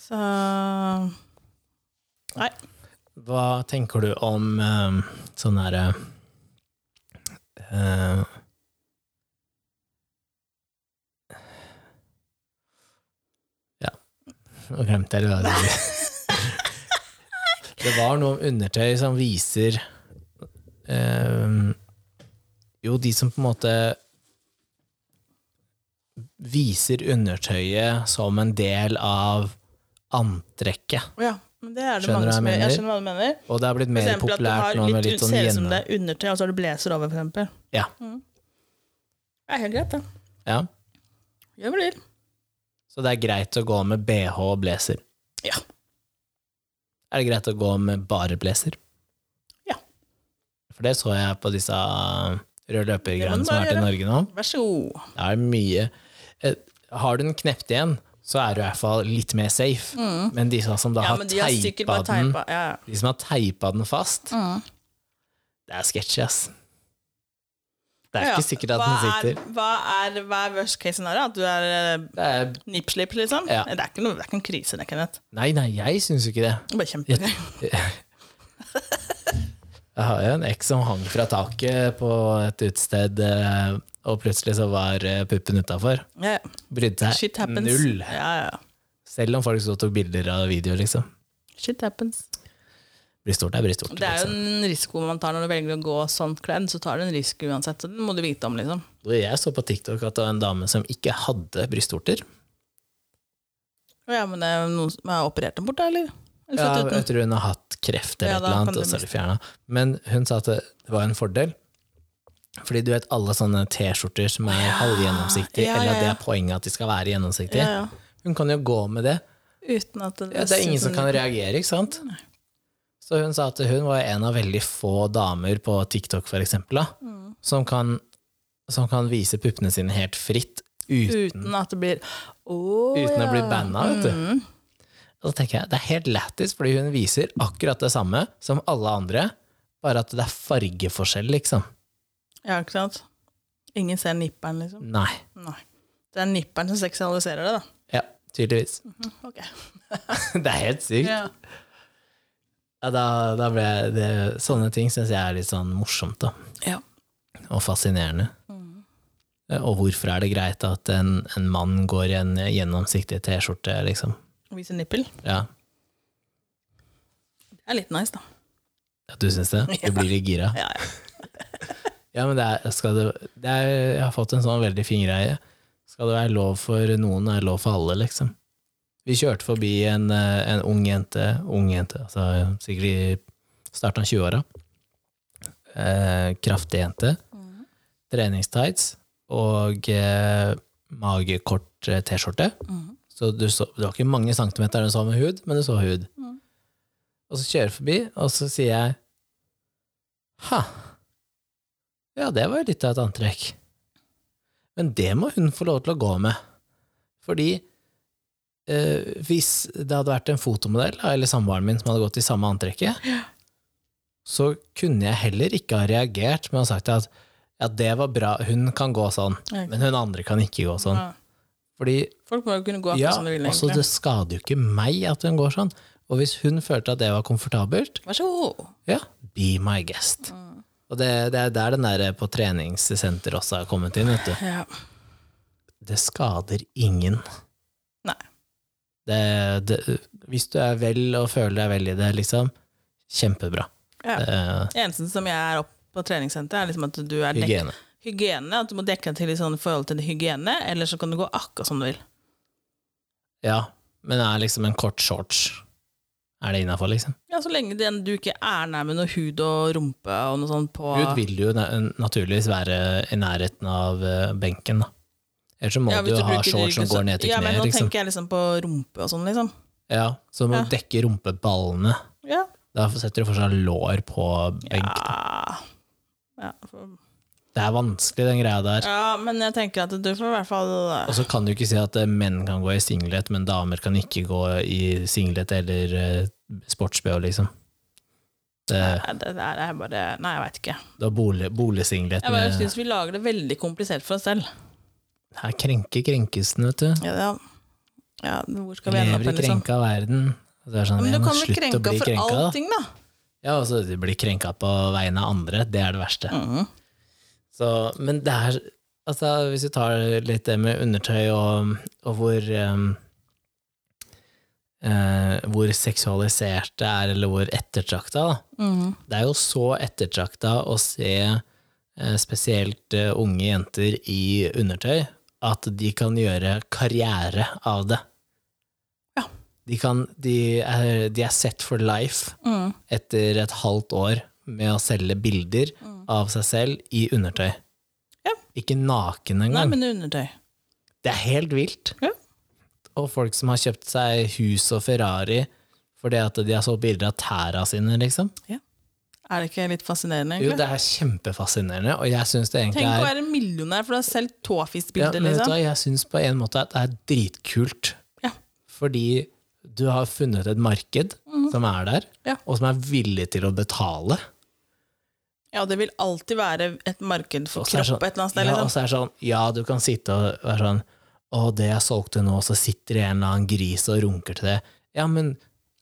B: Så Nei.
A: Hva tenker du om um, sånn herre eh, Ja, nå glemte jeg det. hva jeg skulle si. Det var noe om undertøy som viser eh, Jo, de som på en måte viser undertøyet som en del av antrekket.
B: Ja, men det er det
A: Skjønner hva
B: mange som
A: jeg
B: gjør. Jeg
A: mener?
B: skjønner hva du mener.
A: Og det har blitt
B: For
A: mer
B: eksempel at du
A: populært
B: har
A: nå med litt sånn
B: ser ut som
A: gjennom...
B: det er undertøy, og så har du blazer over, for eksempel.
A: Ja.
B: Mm. Det er helt greit, det.
A: Ja.
B: Gjør hva du vil.
A: Så det er greit å gå med BH og blazer?
B: Ja.
A: Er det greit å gå med bare blazer?
B: Ja.
A: For det så jeg på disse uh, røde
B: Det må
A: løpergreiene
B: du
A: som har vært
B: bare
A: i Norge nå.
B: Vær så god.
A: Det er mye Eh, Har du den knept igjen, så er du i hvert fall litt mer safe.
B: Mm.
A: Men de som da
B: Ja,
A: har
B: men de har sikkert
A: teipa
B: bare
A: den
B: teipa. Ja, ja.
A: De som har teipa den fast,
B: Mm.
A: det er sketchy, ass. Det er
B: Ja, ja.
A: ikke sikkert at
B: hva
A: den sitter.
B: Er, hva, er, hva er worst case scenario? At du er eh,
A: Det er,
B: nippslip, liksom?
A: Ja.
B: Det, er ikke noe, det er ikke noen krise, det, Kenneth.
A: nei, nei, jeg syns jo ikke det.
B: Det er bare kjempegøy.
A: Jeg har jo en eks som hang fra taket på et utested, eh, og plutselig så var eh, puppen utafor.
B: Ja, ja.
A: Brydde
B: Shit
A: seg
B: happens.
A: null.
B: Ja, ja.
A: Selv om folk så tok bilder av videoer, liksom.
B: Shit happens.
A: Brystort er brystort.
B: Det er jo
A: Liksom.
B: en risiko man tar når du velger å gå sånn kledd, så tar du en risiko uansett. Så den må du vite om, liksom.
A: Du, Jeg så på TikTok at det var en dame som ikke hadde brystvorter.
B: Å Ja, men det er jo noen som har operert den bort, da, eller? Eller
A: Ja,
B: født uten?
A: jeg tror hun har hatt kreft eller
B: Ja,
A: et
B: da
A: eller
B: kan
A: annet,
B: det
A: og så er
B: bli-
A: det fjerna. Men hun sa at det det var en fordel. Fordi du vet alle sånne T-skjorter som er halvgjennomsiktige,
B: ja,
A: eller
B: ja,
A: at det
B: ja.
A: er poenget at de skal være gjennomsiktige.
B: Ja, ja.
A: Hun kan jo gå med det.
B: Uten at det,
A: Ja, det er ingen som kan reagere, ikke sant? Så hun sa at hun var en av veldig få damer på TikTok, for eksempel, da,
B: Mm.
A: som, kan, som kan vise puppene sine helt fritt uten,
B: Uten at det blir Å
A: uten
B: ja.
A: å bli banna, vet du.
B: Mm.
A: Og så tenker jeg, det er helt lættis, fordi hun viser akkurat det samme som alle andre, bare at det er fargeforskjell, liksom.
B: Ja, ikke sant? Ingen ser nipperen, liksom.
A: Nei.
B: Nei. Det er nipperen som seksualiserer det, da.
A: Ja, tydeligvis.
B: Ok.
A: [laughs] Det er helt sykt.
B: Mm. Ja.
A: Ja, da, da ble jeg- det, sånne ting syns jeg er litt sånn morsomt, da.
B: Ja.
A: og fascinerende.
B: Mm.
A: Eh, Og hvorfor er det greit at en, en mann går i en gjennomsiktig T-skjorte, liksom?
B: Viser nippel.
A: Ja.
B: Det er litt nice, da.
A: ja, du
B: [laughs]
A: syns det? Du blir litt gira?
B: Ja, ja.
A: [laughs] Ja, men det er, skal det, det er, jeg har fått en sånn veldig fin greie. Skal det være lov for noen, er det lov for alle, liksom? Vi kjørte forbi en, eh, en ung jente, ung jente, altså sikkert i starten av 20-åra. Eh, kraftig jente.
B: Mm.
A: Treningstights og eh, magekort eh, T-skjorte.
B: Mhm.
A: Så du så, det var ikke mange centimeter du så med hud, men du så hud.
B: Mhm.
A: Og så kjører jeg forbi, og så sier jeg Ha, ja, det var jo litt av et antrekk. Men det må hun få lov til å gå med. Fordi eh, hvis det hadde vært en fotomodell, da, eller samboeren min, som hadde gått i samme antrekket, så kunne jeg heller ikke ha reagert med å ha sagt at ja, det var bra, hun kan gå sånn,
B: Ja,
A: men hun andre kan ikke gå sånn.
B: Ja.
A: Fordi
B: Folk må jo kunne gå akkurat
A: ja,
B: som de vil,
A: altså,
B: egentlig.
A: det skader jo ikke meg at hun går sånn. Og hvis hun følte at det var komfortabelt,
B: Vær så god.
A: ja, be my guest.
B: Mm.
A: Og det, det er der den der eh, på treningssenter også har kommet inn, vet du.
B: Ja.
A: Det skader ingen.
B: Nei.
A: Det, det, hvis du er vel og føler deg vel i det, liksom, kjempebra.
B: Ja.
A: Eh,
B: Det eneste som jeg er opp på treningssenter, er liksom at du er dek
A: hygiene.
B: hygiene. At du må dekke deg til i sånn forhold til hygiene, eller så kan du gå akkurat som du vil.
A: Ja, men er liksom en kort shorts. Er det innafor, liksom?
B: Ja, Så lenge den, du ikke er nær med noe hud og rumpe og noe sånt på
A: Gud vil jo na- naturligvis være i nærheten av eh, benken, da. Ellers så må
B: Ja,
A: du
B: hvis
A: jo ha
B: bruker
A: shorts som
B: ryggen, så-
A: går ned til
B: ja, men
A: kneet,
B: nå
A: liksom.
B: tenker jeg liksom på rumpe og sånn, liksom.
A: Ja, så du må
B: Ja.
A: dekke rumpeballene.
B: Ja.
A: Da setter du fortsatt lår på benk.
B: Ja. Ja, for-
A: Det er vanskelig, den greia der.
B: ja, men jeg tenker at du får i hvert fall
A: Og så kan du ikke si at eh, menn kan gå i singlet, men damer kan ikke gå i singlet eller eh, sports-BH, liksom. Det,
B: Nei, det der er bare Nei, jeg veit ikke.
A: det var bolig, boligsinglet
B: Jeg bare
A: med
B: syns vi lager det veldig komplisert for oss selv.
A: Her krenker krenkesen, vet du.
B: Ja, ja. Ja, men hvor skal vi ende opp?
A: Lever i
B: hen, Liksom?
A: krenka verden. Og så er det sånn,
B: Men du
A: jeg må
B: kan bli
A: slutte å
B: krenka
A: bli
B: for
A: krenka, da.
B: allting, da.
A: Ja, og så du blir krenka på vegne av andre. Det er det verste.
B: Mhm.
A: Så, men det er Altså, hvis du tar litt det med undertøy og, og hvor ehm, eh, Hvor seksualisert det er, eller hvor ettertrakta, da.
B: Mhm.
A: Det er jo så ettertrakta å se eh, spesielt eh, unge jenter i undertøy at de kan gjøre karriere av det.
B: Ja.
A: De, kan, de, er, de er set for life
B: Mhm.
A: etter et halvt år med å selge bilder
B: Mm.
A: av seg selv i undertøy.
B: Ja.
A: Ikke naken
B: Nei,
A: engang.
B: men undertøy.
A: Det er helt vilt.
B: Ja.
A: Og folk som har kjøpt seg hus og Ferrari fordi at de har solgt bilder av tæra sine, liksom.
B: Er det ikke litt fascinerende?
A: Jo,
B: egentlig?
A: det er kjempefascinerende, og jeg syns det egentlig
B: Tenk å
A: er
B: være millionær for du har selv
A: ja,
B: tåfisbilder,
A: men vet du
B: liksom.
A: hva, Jeg syns på en måte at det er dritkult.
B: Ja.
A: Fordi du har funnet et marked som er der,
B: Mhm. Ja.
A: og som er villig til å betale.
B: Ja, det vil alltid være et marked for
A: Og så er
B: kropp
A: det sånn-
B: et eller annet sted.
A: Ja, og
B: Liksom.
A: så er det sånn, ja, du kan sitte og være sånn Å, det jeg solgte nå, så sitter det en eller annen gris og runker til det. Ja, men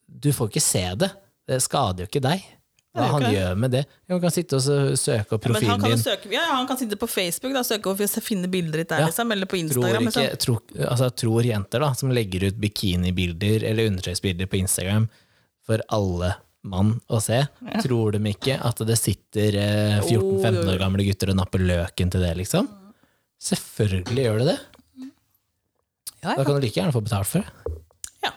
A: du får ikke se det. Det skader jo ikke deg. Hva
B: Det gjør
A: han
B: ikke det.
A: gjør med det? Jo, han kan sitte og så søke opp
B: Men han
A: profilen
B: kan, jo
A: din.
B: søke, ja, ja, han kan sitte på Facebook da, søke og finne bilder ditt der,
A: Ja.
B: liksom, eller på
A: Tror,
B: Instagram.
A: ikke,
B: Liksom.
A: tror, altså, tror jenter da, som legger ut bikinibilder eller undertøysbilder på Instagram for alle mann å se, tror de ikke at det sitter eh, 14-15
B: Jo, jo, jo.
A: år gamle gutter og napper løken til det, liksom? Selvfølgelig gjør det det.
B: Ja,
A: Da
B: ja.
A: kan du like gjerne få betalt for det.
B: Ja.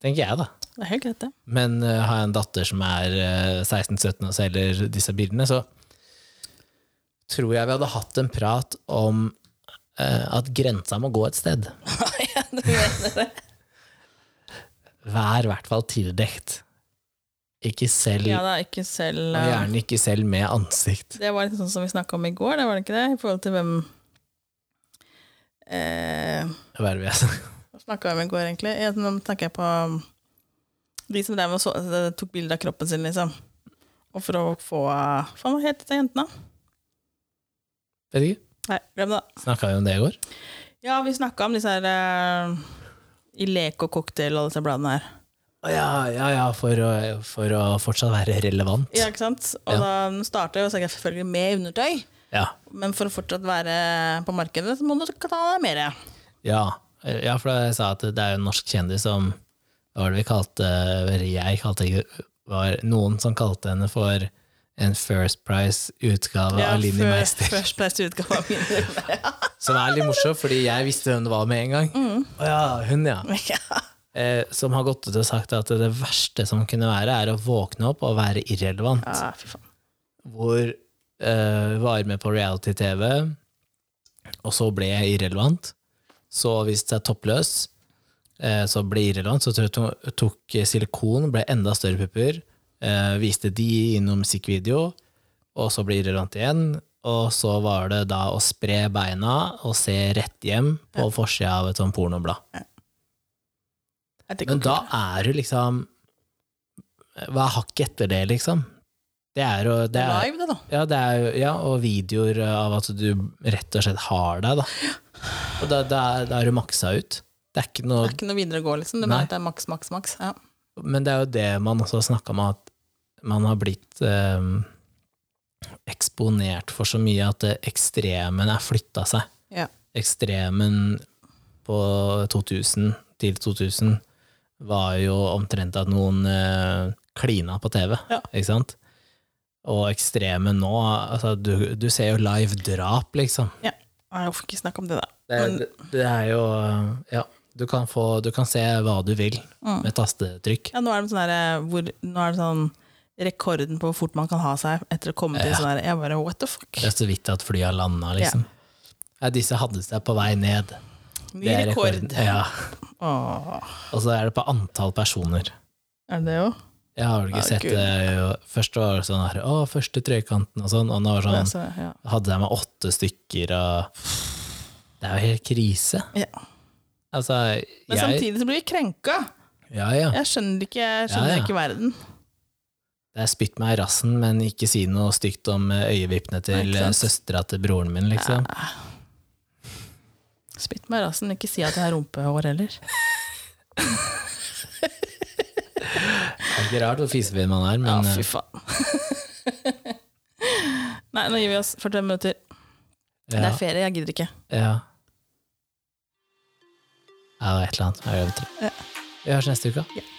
A: Tenker jeg, da.
B: Det er helt greit, det.
A: Men eh, har jeg en datter som er eh, 16-17 og selger disse bildene, så tror jeg vi hadde hatt en prat om eh, at grensa må gå et sted.
B: Ja, [laughs] du mener det.
A: Vær i hvert fall tildekt. Ikke selv,
B: Ja, det er ikke selv
A: og
B: eh,
A: gjerne ikke selv med ansikt.
B: Det var litt sånn som vi snakka om i går, det var det ikke det? I forhold til hvem eh,
A: Hva er det vi har sagt? [laughs]
B: Hva snakka vi om i går, egentlig? Jeg, nå tenker jeg på um, de som drev og så, eh, tok bilde av kroppen sin, liksom. Og for å få eh, Faen, hva het de jentene?
A: Vet ikke.
B: Nei, glem det. da.
A: Snakka vi om det i går?
B: Ja, vi snakka om disse her eh, i Leke og Cocktail og alle disse bladene her.
A: Å Ja, ja, ja, for å, for å fortsatt være relevant.
B: Ja, ikke sant? Og
A: Ja.
B: da starta jo sikkert selvfølgelig med undertøy,
A: Ja.
B: men for å fortsatt være på markedet, så må du ta deg mer.
A: Ja, ja for jeg sa at det er jo en norsk kjendis som Hva var det vi kalte eller Jeg kalte ikke var noen som kalte henne for en First Price-utgave av Linni
B: før-
A: Meister.
B: Først beste utgave av min.
A: Som er litt morsom, fordi jeg visste hvem det var med en gang. Å ja, hun, ja.
B: ja.
A: Eh, som har gått ut og sagt at det verste som kunne være, er å våkne opp og være irrelevant.
B: [laughs] Ja, fy faen.
A: hvor eh, var med på reality-TV, og så ble jeg irrelevant. Så viste seg toppløs, eh, så ble irrelevant. Så tror jeg to- tok silikon, ble enda større pupper. eh, viste de innom musikkvideo, og så ble irrelevant igjen. Og så var det da å spre beina og se rett hjem på forsida av et sånt pornoblad.
B: Jeg tenker
A: Men da er du liksom Hva er hakket etter det, liksom? Det er jo det er,
B: live, det, da.
A: ja, det er, jo- ja, og videoer av at du rett og slett har deg, da. Og da, da, er- da er du maksa ut. Det er ikke
B: Det
A: noe
B: er ikke noe videre å gå, liksom. Det,
A: Nei.
B: bare at det er maks, maks, maks. Ja.
A: Men det er jo det man også har snakka om, at man har blitt eh, eksponert for så mye at eh, ekstremen er flytta seg.
B: Ja.
A: Ekstremen på 2000 til 2000 var jo omtrent at noen eh, klina på TV,
B: Ja.
A: ikke sant? Og ekstremen nå altså, du, du ser jo live drap, liksom.
B: Nei, jeg får ikke snakke om det, da.
A: Det,
B: Men-
A: det er jo Ja, du kan, få, du kan se hva du vil
B: Mm.
A: med tastetrykk.
B: Ja, nå er det sånn der, hvor, nå er det sånn rekorden på hvor fort man kan ha seg etter å komme til
A: Ja.
B: sånn der Jeg bare what the fuck?
A: Det er så vidt at flyet har landa, liksom. Ja, disse hadde seg på vei ned.
B: Ny rekord.
A: Ja.
B: Åh,
A: Og så er det på antall personer.
B: er det det jo?
A: Jeg har du ikke
B: Å,
A: sett
B: Gud.
A: det. jo- Først var det sånn her Å, første trekanten og sånn. Og nå var det
B: Ja,
A: sånn
B: så, ja.
A: hadde jeg med åtte stykker og Det er jo helt krise.
B: Ja.
A: Altså,
B: Men
A: jeg
B: samtidig så blir vi krenka!
A: Ja, ja.
B: Jeg skjønner ikke, jeg skjønner
A: Ja, ja.
B: ikke verden.
A: Det er spytt meg i rassen, men ikke si noe stygt om eh, øyevippene til
B: Nei, ikke sant?
A: søstera til broren min, liksom.
B: Ja. Spytt meg i rassen, ikke si at jeg har rumpehår heller.
A: Det er ikke rart hvor fisefin man er,
B: Ja,
A: men eh,
B: fy faen. [laughs] Nei, nå gir vi oss 45 minutter.
A: eh,
B: Det
A: ja,
B: er ferie, jeg gidder ikke.
A: ja. Ja, det var et eller annet. Jeg glemte det. Vi høres neste uke.
B: Ja.